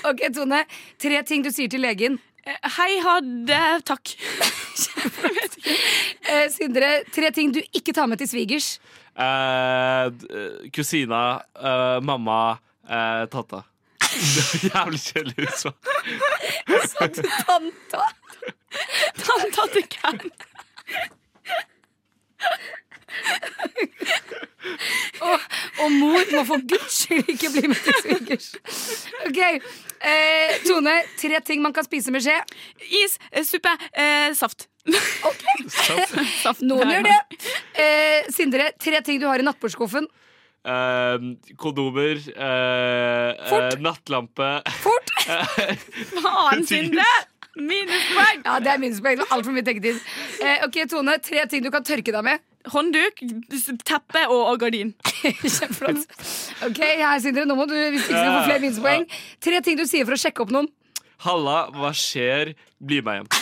Ok, Tone. Tre ting du sier til legen.
Eh, Hei, ha det, takk.
Eh, Sindre, tre ting du ikke tar med til svigers.
Eh, d- eh, kusina, eh, mamma, eh, tata. Det var Jævlig kjedelig utsvar.
Sa du tanta?
Tanta til Ken.
Og mor må for guds skyld ikke bli med til svigers. Ok, eh, Tone. Tre ting man kan spise med skje.
Is, eh, suppe, eh, saft. saft.
Noen
Nei,
gjør det. Eh, Sindre, tre ting du har i nattbordskuffen.
Eh, kondomer, eh, eh, nattlampe
Fort!
Faen, Sindre! Minuspoeng.
Ja, det er minuspoeng. Det var Altfor mye tenketid. Eh, ok, Tone. Tre ting du kan tørke deg med.
Håndduk, s- teppe og, og gardin.
Kjempeflott. Ok, her, Sindre. Nå må du, hvis ikke du får flere minuspoeng. Tre ting du sier for å sjekke opp noen.
Halla, hva skjer? Bli med hjem.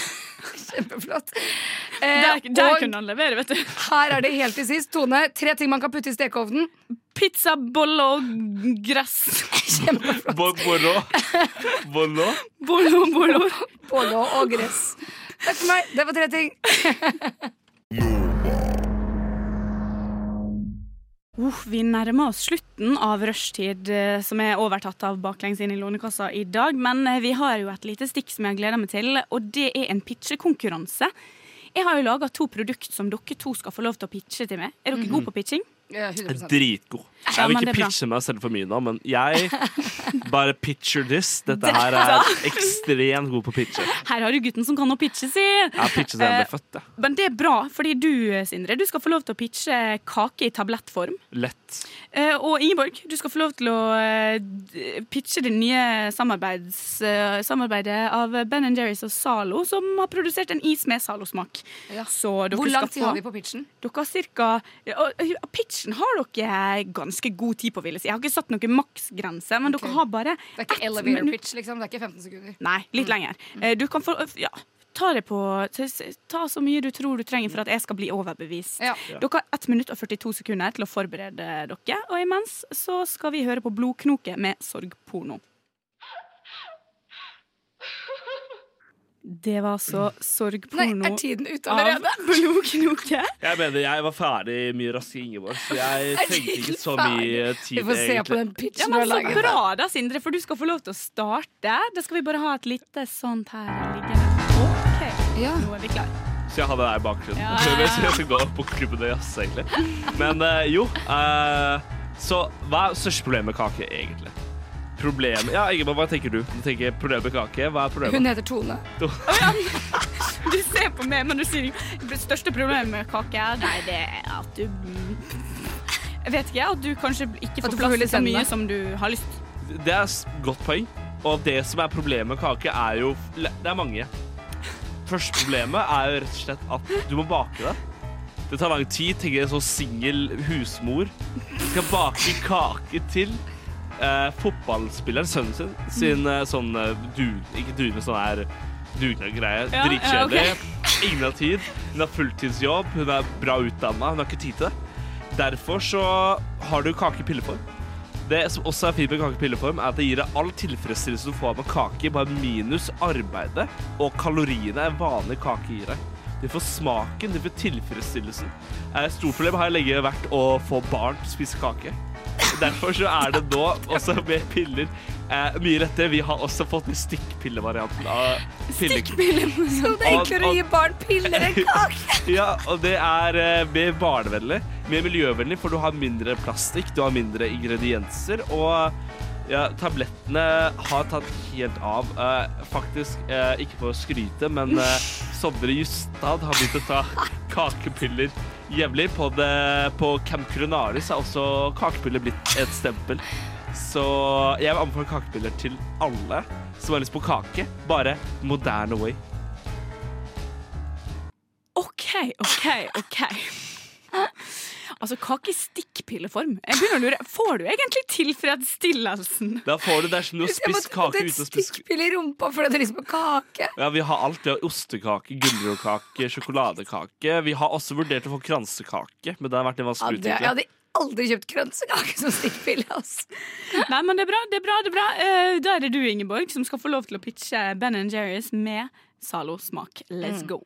Kjempeflott. Eh,
Der, der
og
kunne han levere, vet du.
her er det helt til sist. Tone, tre ting man kan putte i stekeovnen.
Pizza, bolle og gress.
Bon moro. Bollo.
Bolo, bolo.
Pålå og gress. Takk for meg. Det var tre ting.
Oh, vi nærmer oss slutten av rushtid, eh, som er overtatt av baklengs inn i Lånekassa i dag. Men eh, vi har jo et lite stikk som jeg gleder meg til, og det er en pitchekonkurranse. Jeg har jo laga to produkt som dere to skal få lov til å pitche til meg. Er dere gode på pitching?
Ja, 100
Dritgod.
Ja,
Jeg vil
men det
ikke
er bra.
pitche meg selv for mye nå, men jeg Bare picture this. Dette her er ekstremt god på å pitche. Jeg
Her har du gutten som kan å pitche, si!
har pitchet siden jeg ble født. Jeg.
Men det er bra, fordi du, eh, Sindre, du skal få lov til å pitche kake i tablettform.
Lett.
Eh, Og Ingeborg, du skal få lov til å eh, d- pitche det nye samarbeids, eh, samarbeidet av Ben Jerry's og Zalo, som har produsert en is med Zalo-smak.
Ja.
Så dere
Hvor lang
skal
tid
få,
har vi på pitchen?
Dere har cirka, ja, og, og Pitchen har dere ganske god tid på, vil jeg si. Jeg har ikke satt noen maksgrense, men
Ok.
dere har bare
Det er ikke
ett
elevator
minutt.
pitch, liksom. Det er ikke 15 sekunder.
Nei, litt lenger. Eh, Du kan få Ja. Ta det på ta- Ta så mye du tror du trenger for at jeg skal bli overbevist.
Ja.
Dere har 1 minutt og 42 sekunder til å forberede dere, og imens så skal vi høre på Blodknoke med sorgporno. Det var så
Nei,
sorgporno
er tiden ute
av
allerede?
Blodknoke.
Jeg mener, jeg var ferdig mye raskere enn Ingeborg, så jeg trengte ikke så mye tid.
Vi får se på den
Ja,
pitchen du har
men så
laget.
bra da, Sindre, for du skal få lov til å starte. Da skal vi bare ha et lite sånt her liggende. OK,
Ja.
nå er vi klare.
Så jeg har det der i bakgrunnen.
Ja.
Jeg skal- jeg skal gå opp på klubben og jazze, egentlig. Men eh, jo eh, Så hva er største problemet med kake, egentlig? Problemet Ja, Ingeborg, hva tenker du? Du tenker problemet med kake. Hva er
Hun
problemet?
heter Tone.
Du ser på meg, men du sier ikke Det største problemet med kake er Nei, det er at du Jeg vet ikke, at du kanskje ikke
At
får
du får hull
plass
i
til så
tennene.
mye som du har lyst
Det er et godt poeng. Og det som er problemet med kake, er jo Det er mange. Første problemet er jo rett og slett at du må bake det. Det tar lang tid, tenker jeg, som singel husmor. Skal bake kake til eh, fotballspilleren, sønnen sin, sin
Mm.
eh, sånn eh, dug... Ikke dug, men sånn her dugnadgreie.
Ja, ja,
Dritkjedelig.
ok.
Ingen har tid. Hun har fulltidsjobb, hun er bra utdanna, hun har ikke tid til det. Derfor så har du kake i pilleform. Det som også er fint med kake i pilleform, er at det gir deg all tilfredsstillelse du får med kake, bare minus arbeidet og kaloriene en vanlig kake gir deg. Du får smaken, du får tilfredsstillelsen. Eh, Stort problem har lenge vært å få barn til å spise kake. Derfor så er det nå også med piller eh, mye lettere. Vi har også fått den stikkpillevarianten av pille...
Stikkpiller. Så det er enklere å gi barn piller enn kake.
Ja, og det er eh, mer barnevennlig, mer miljøvennlig, for du har mindre plastikk, du har mindre ingredienser, og ja, tablettene har tatt helt av. Eh, faktisk, eh, ikke for å skryte, men eh, Sondre Justad har begynt å ta kakepiller jevnlig. På, det- på Camp Cronaris er også kakepiller blitt et stempel. Så jeg vil anbefale kakepiller til alle som har lyst på kake, bare moderne way.
OK, OK, OK Altså, kake i stikkpilleform Jeg begynner å lure Får du egentlig tilfredsstillelsen?
Da får du det er som du har
Jeg må-
spist kake
det er
uten
et
å spise
stikkpille i rumpa fordi det er liksom kake.
Ja, vi har alt. Vi har ostekake, gulrotkake, sjokoladekake. Vi har også vurdert å få kransekake, men det har vært en
Ja,
vanskelig
det, jeg
utvikling.
hadde aldri kjøpt kransekake som stikkpille. altså. ass.
Nei, men det er bra, det er bra, det er bra Eh, Da er det du, Ingeborg, som skal få lov til å pitche Ben Jerry's med Zalo-smak
Mm.
Let's go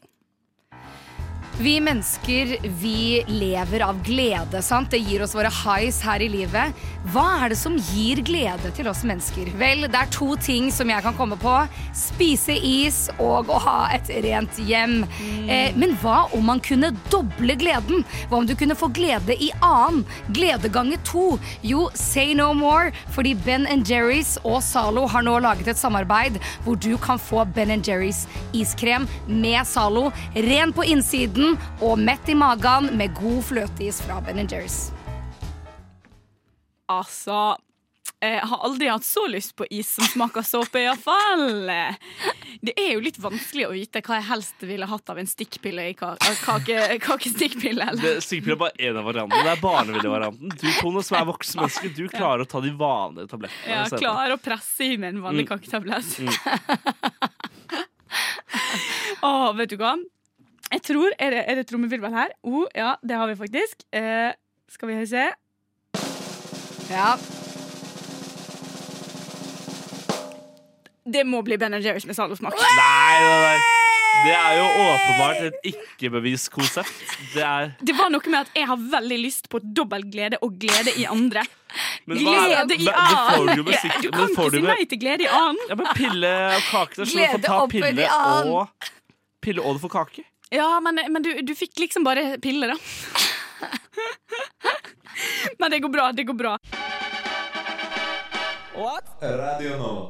Vi mennesker vi lever av glede. sant? Det gir oss våre highs her i livet. Hva er det som gir glede til oss mennesker? Vel, det er to ting som jeg kan komme på. Spise is og å ha et rent hjem. Eh, men hva om man kunne doble gleden? Hva om du kunne få glede i annen? Glede ganger to? Jo, say no more, fordi Ben Jerry's og Zalo har nå laget et samarbeid hvor du kan få Ben Jerry's iskrem med Zalo, ren på innsiden og mett i magen med god fløteis fra Ben Jerry's.
Altså jeg har aldri hatt så lyst på is som smaker såpe, iallfall. Det er jo litt vanskelig å vite hva jeg helst ville hatt av en stikkpille i ka- av kake, kakestikkpille.
Det
Eller?
Sikkert er bare en av variantene. Det er barnevennlig-varianten. Du, Tone, som er voksen menneske, du klarer å ta de vanlige tablettene.
Ja,
senere.
klar å presse i med en vanlig kaketablett. Å, vet du hva? Jeg tror Er det, er det trommevirvel her? Å, ja, det har vi faktisk. Eh, skal vi se.
Ja,
Det må bli Ben Jerry's med salosmak.
Nei, nei, nei. Det er jo åpenbart et ikke-bevist konsept. Det er
Det var noe med at jeg har veldig lyst på dobbel glede og glede i andre.
men hva er-
Glede i
men- men får
annen!
du med sikk-
Du
men
kan
får
ikke
du
si
med-
nei til glede i annen.
Ja, men pille og kake. Det er sånn at du får
Glede
ta
opp i
pille
annen.
og Pille og du får kake.
Ja, men, men du, du fikk liksom bare piller, da. Nei, det går bra. Det går bra.
Eh, Radio Nova.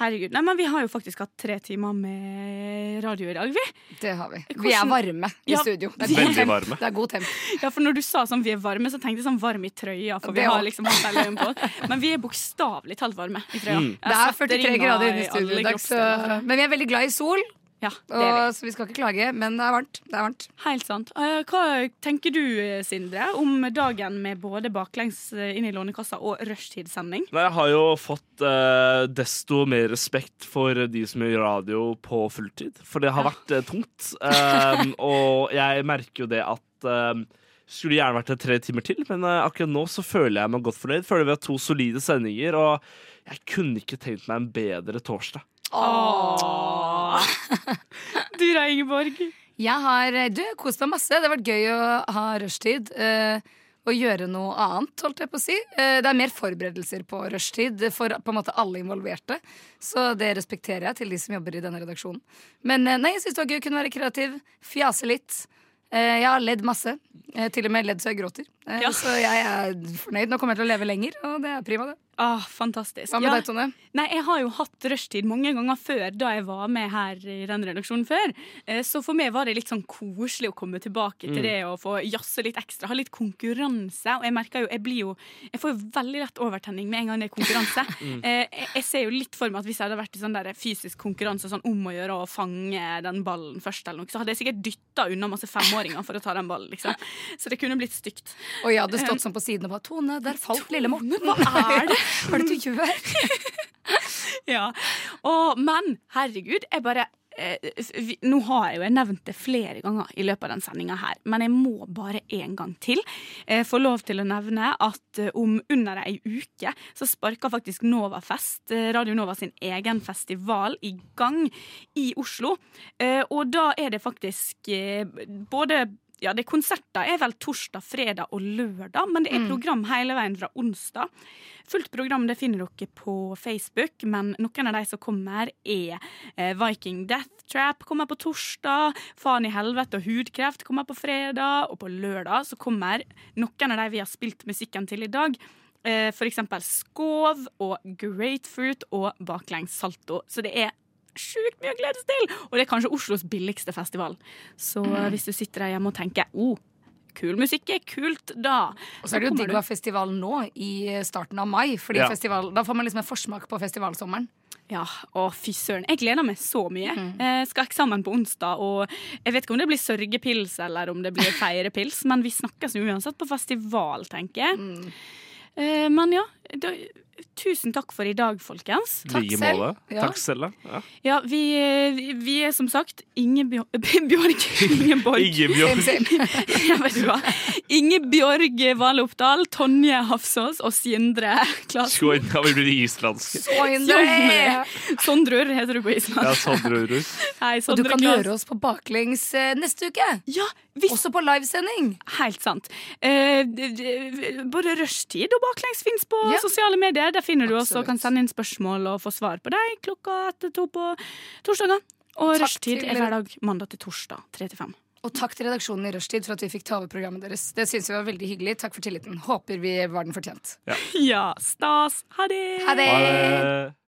Herregud. Nei, men vi har jo faktisk hatt tre timer med radio i dag, vi.
Det har vi. Vi
Hvordan-
er varme i
Ja,
studio. Det
veldig
god temp.
varme.
Det er god temp.
Ja, for når du sa sånn vi er varme, så tenkte jeg sånn varm i trøya, for vi
Det
har
også.
liksom hatt hele øynene på. oss. Men vi er bokstavelig talt varme i
Mm.
trøya. Jeg
Det er
setter
43
ringa
grader inne i
alle
studio i dag, så
kroppsdeler.
Men vi er veldig glad i sol,
Ja, det er vi.
og, så vi skal ikke klage. Men det er varmt. Det er varmt.
Helt sant. Eh, Hva tenker du, eh, Sindre, om dagen med både baklengs eh, inn i Lånekassa og rushtidssending?
Nei, jeg har jo fått eh, desto mer respekt for de som gjør radio på fulltid. For det har vært eh, tungt. Um, og jeg merker jo det at um, skulle gjerne vært det tre timer til, men eh, akkurat nå så føler jeg meg godt fornøyd. Føler vi har to solide sendinger, og jeg kunne ikke tenkt meg en bedre torsdag.
Du da, Ingeborg?
Jeg har eh, du, jeg har kost meg masse. Det har vært gøy å ha rushtid. eh, og gjøre noe annet, holdt jeg på å si. Eh, det er mer forberedelser på rushtid for på en måte alle involverte. Så det respekterer jeg til de som jobber i denne redaksjonen. Men eh, nei, jeg syns det var gøy å kunne være kreativ. Fjase litt. Eh, jeg har ledd masse. Eh, til og med ledd så jeg gråter. Eh,
Ja.
Så jeg er fornøyd. Nå kommer jeg til å leve lenger, og det er prima, det.
Ah, fantastisk.
Hva med
Ja.
deg, Tone?
Nei, Jeg har jo hatt rushtid mange ganger før da jeg var med her i den redaksjonen før. Eh, Så for meg var det litt sånn koselig å komme tilbake til det og få jazze litt ekstra. Ha litt konkurranse. Og jeg merker jo, jeg blir jo Jeg får jo veldig lett overtenning med en gang det er konkurranse. Eh, Jeg, jeg ser jo litt for meg at hvis jeg hadde vært i sånn der fysisk konkurranse sånn om å gjøre å fange den ballen først, eller noe, så hadde jeg sikkert dytta unna masse femåringer for å ta den ballen, liksom. Så det kunne blitt stygt.
Og jeg hadde stått sånn på siden og bare Tone, der falt lille Morten.
Eh. Hva er det?
Hva er det du gjør?
Ja. Og, men herregud, jeg bare eh, vi, Nå har jeg jo jeg nevnt det flere ganger i løpet av den sendinga her, men jeg må bare en gang til eh, få lov til å nevne at eh, om under ei uke så sparker faktisk Novafest, eh, Radio Nova sin egen festival, i gang i Oslo. Eh, og da er det faktisk eh, både ja, det er konserter er vel torsdag, fredag og lørdag, men det er program hele veien fra onsdag. Fullt program det finner dere på Facebook, men noen av de som kommer, er eh, Viking Death Trap kommer på torsdag, Faen i helvete og hudkreft kommer på fredag, og på lørdag så kommer noen av de vi har spilt musikken til i dag. Eh, for eksempel Skov og Grapefruit og Baklengs Salto. Så det er sjukt mye å glede seg til! Og det er kanskje Oslos billigste festival. Så hvis du sitter der hjemme og tenker oh, kul musikk er kult, da
Og så er det jo
kommer
digg
du-
å ha festival nå, i starten av mai. Fordi
Ja.
festival, da får man liksom en forsmak på festivalsommeren.
Ja, å fy søren. Jeg gleder meg så mye. Eh, skal ha eksamen på onsdag, og jeg vet ikke om det blir sørgepils eller om det blir feirepils, men vi snakkes jo uansett på festival, tenker jeg. Eh, men ja, da, tusen takk for i dag, folkens.
Takk
Like
selv.
måte.
Ja.
Takk selv, da. Ja.
Ja, vi, eh, vi, vi er som sagt Ingebjørg Ingeborg.
Ingebjørg.
Ja, vet du hva? Ingebjørg Vale Oppdal, Tonje Hafsås og Sindre Klasen.
Skål. Ja, vi blir islandske.
Sondre!
Sondrur heter du på
Ja,
Island.
sånn tror du.
Hei,
Og du
Sondre
kan
Klasen.
høre oss på baklengs eh, neste uke.
Ja, hvis
Også på livesending.
Helt sant. Eh, d- d- både rushtid og baklengs fins på
Ja.
sosiale medier. Der finner du oss og
Absolutt.
kan sende inn spørsmål og få svar på deg klokka etter to på torsdager. Og
Takk
rushtid
til
er
dere.
hver dag mandag til torsdag 35.
Og takk til redaksjonen i Rushtid for at vi fikk ta over programmet deres. Det syns vi var veldig hyggelig. Takk for tilliten. Håper vi var den fortjent. Eh.
Ja, stas. Ha det!
Ha det!
Ha det.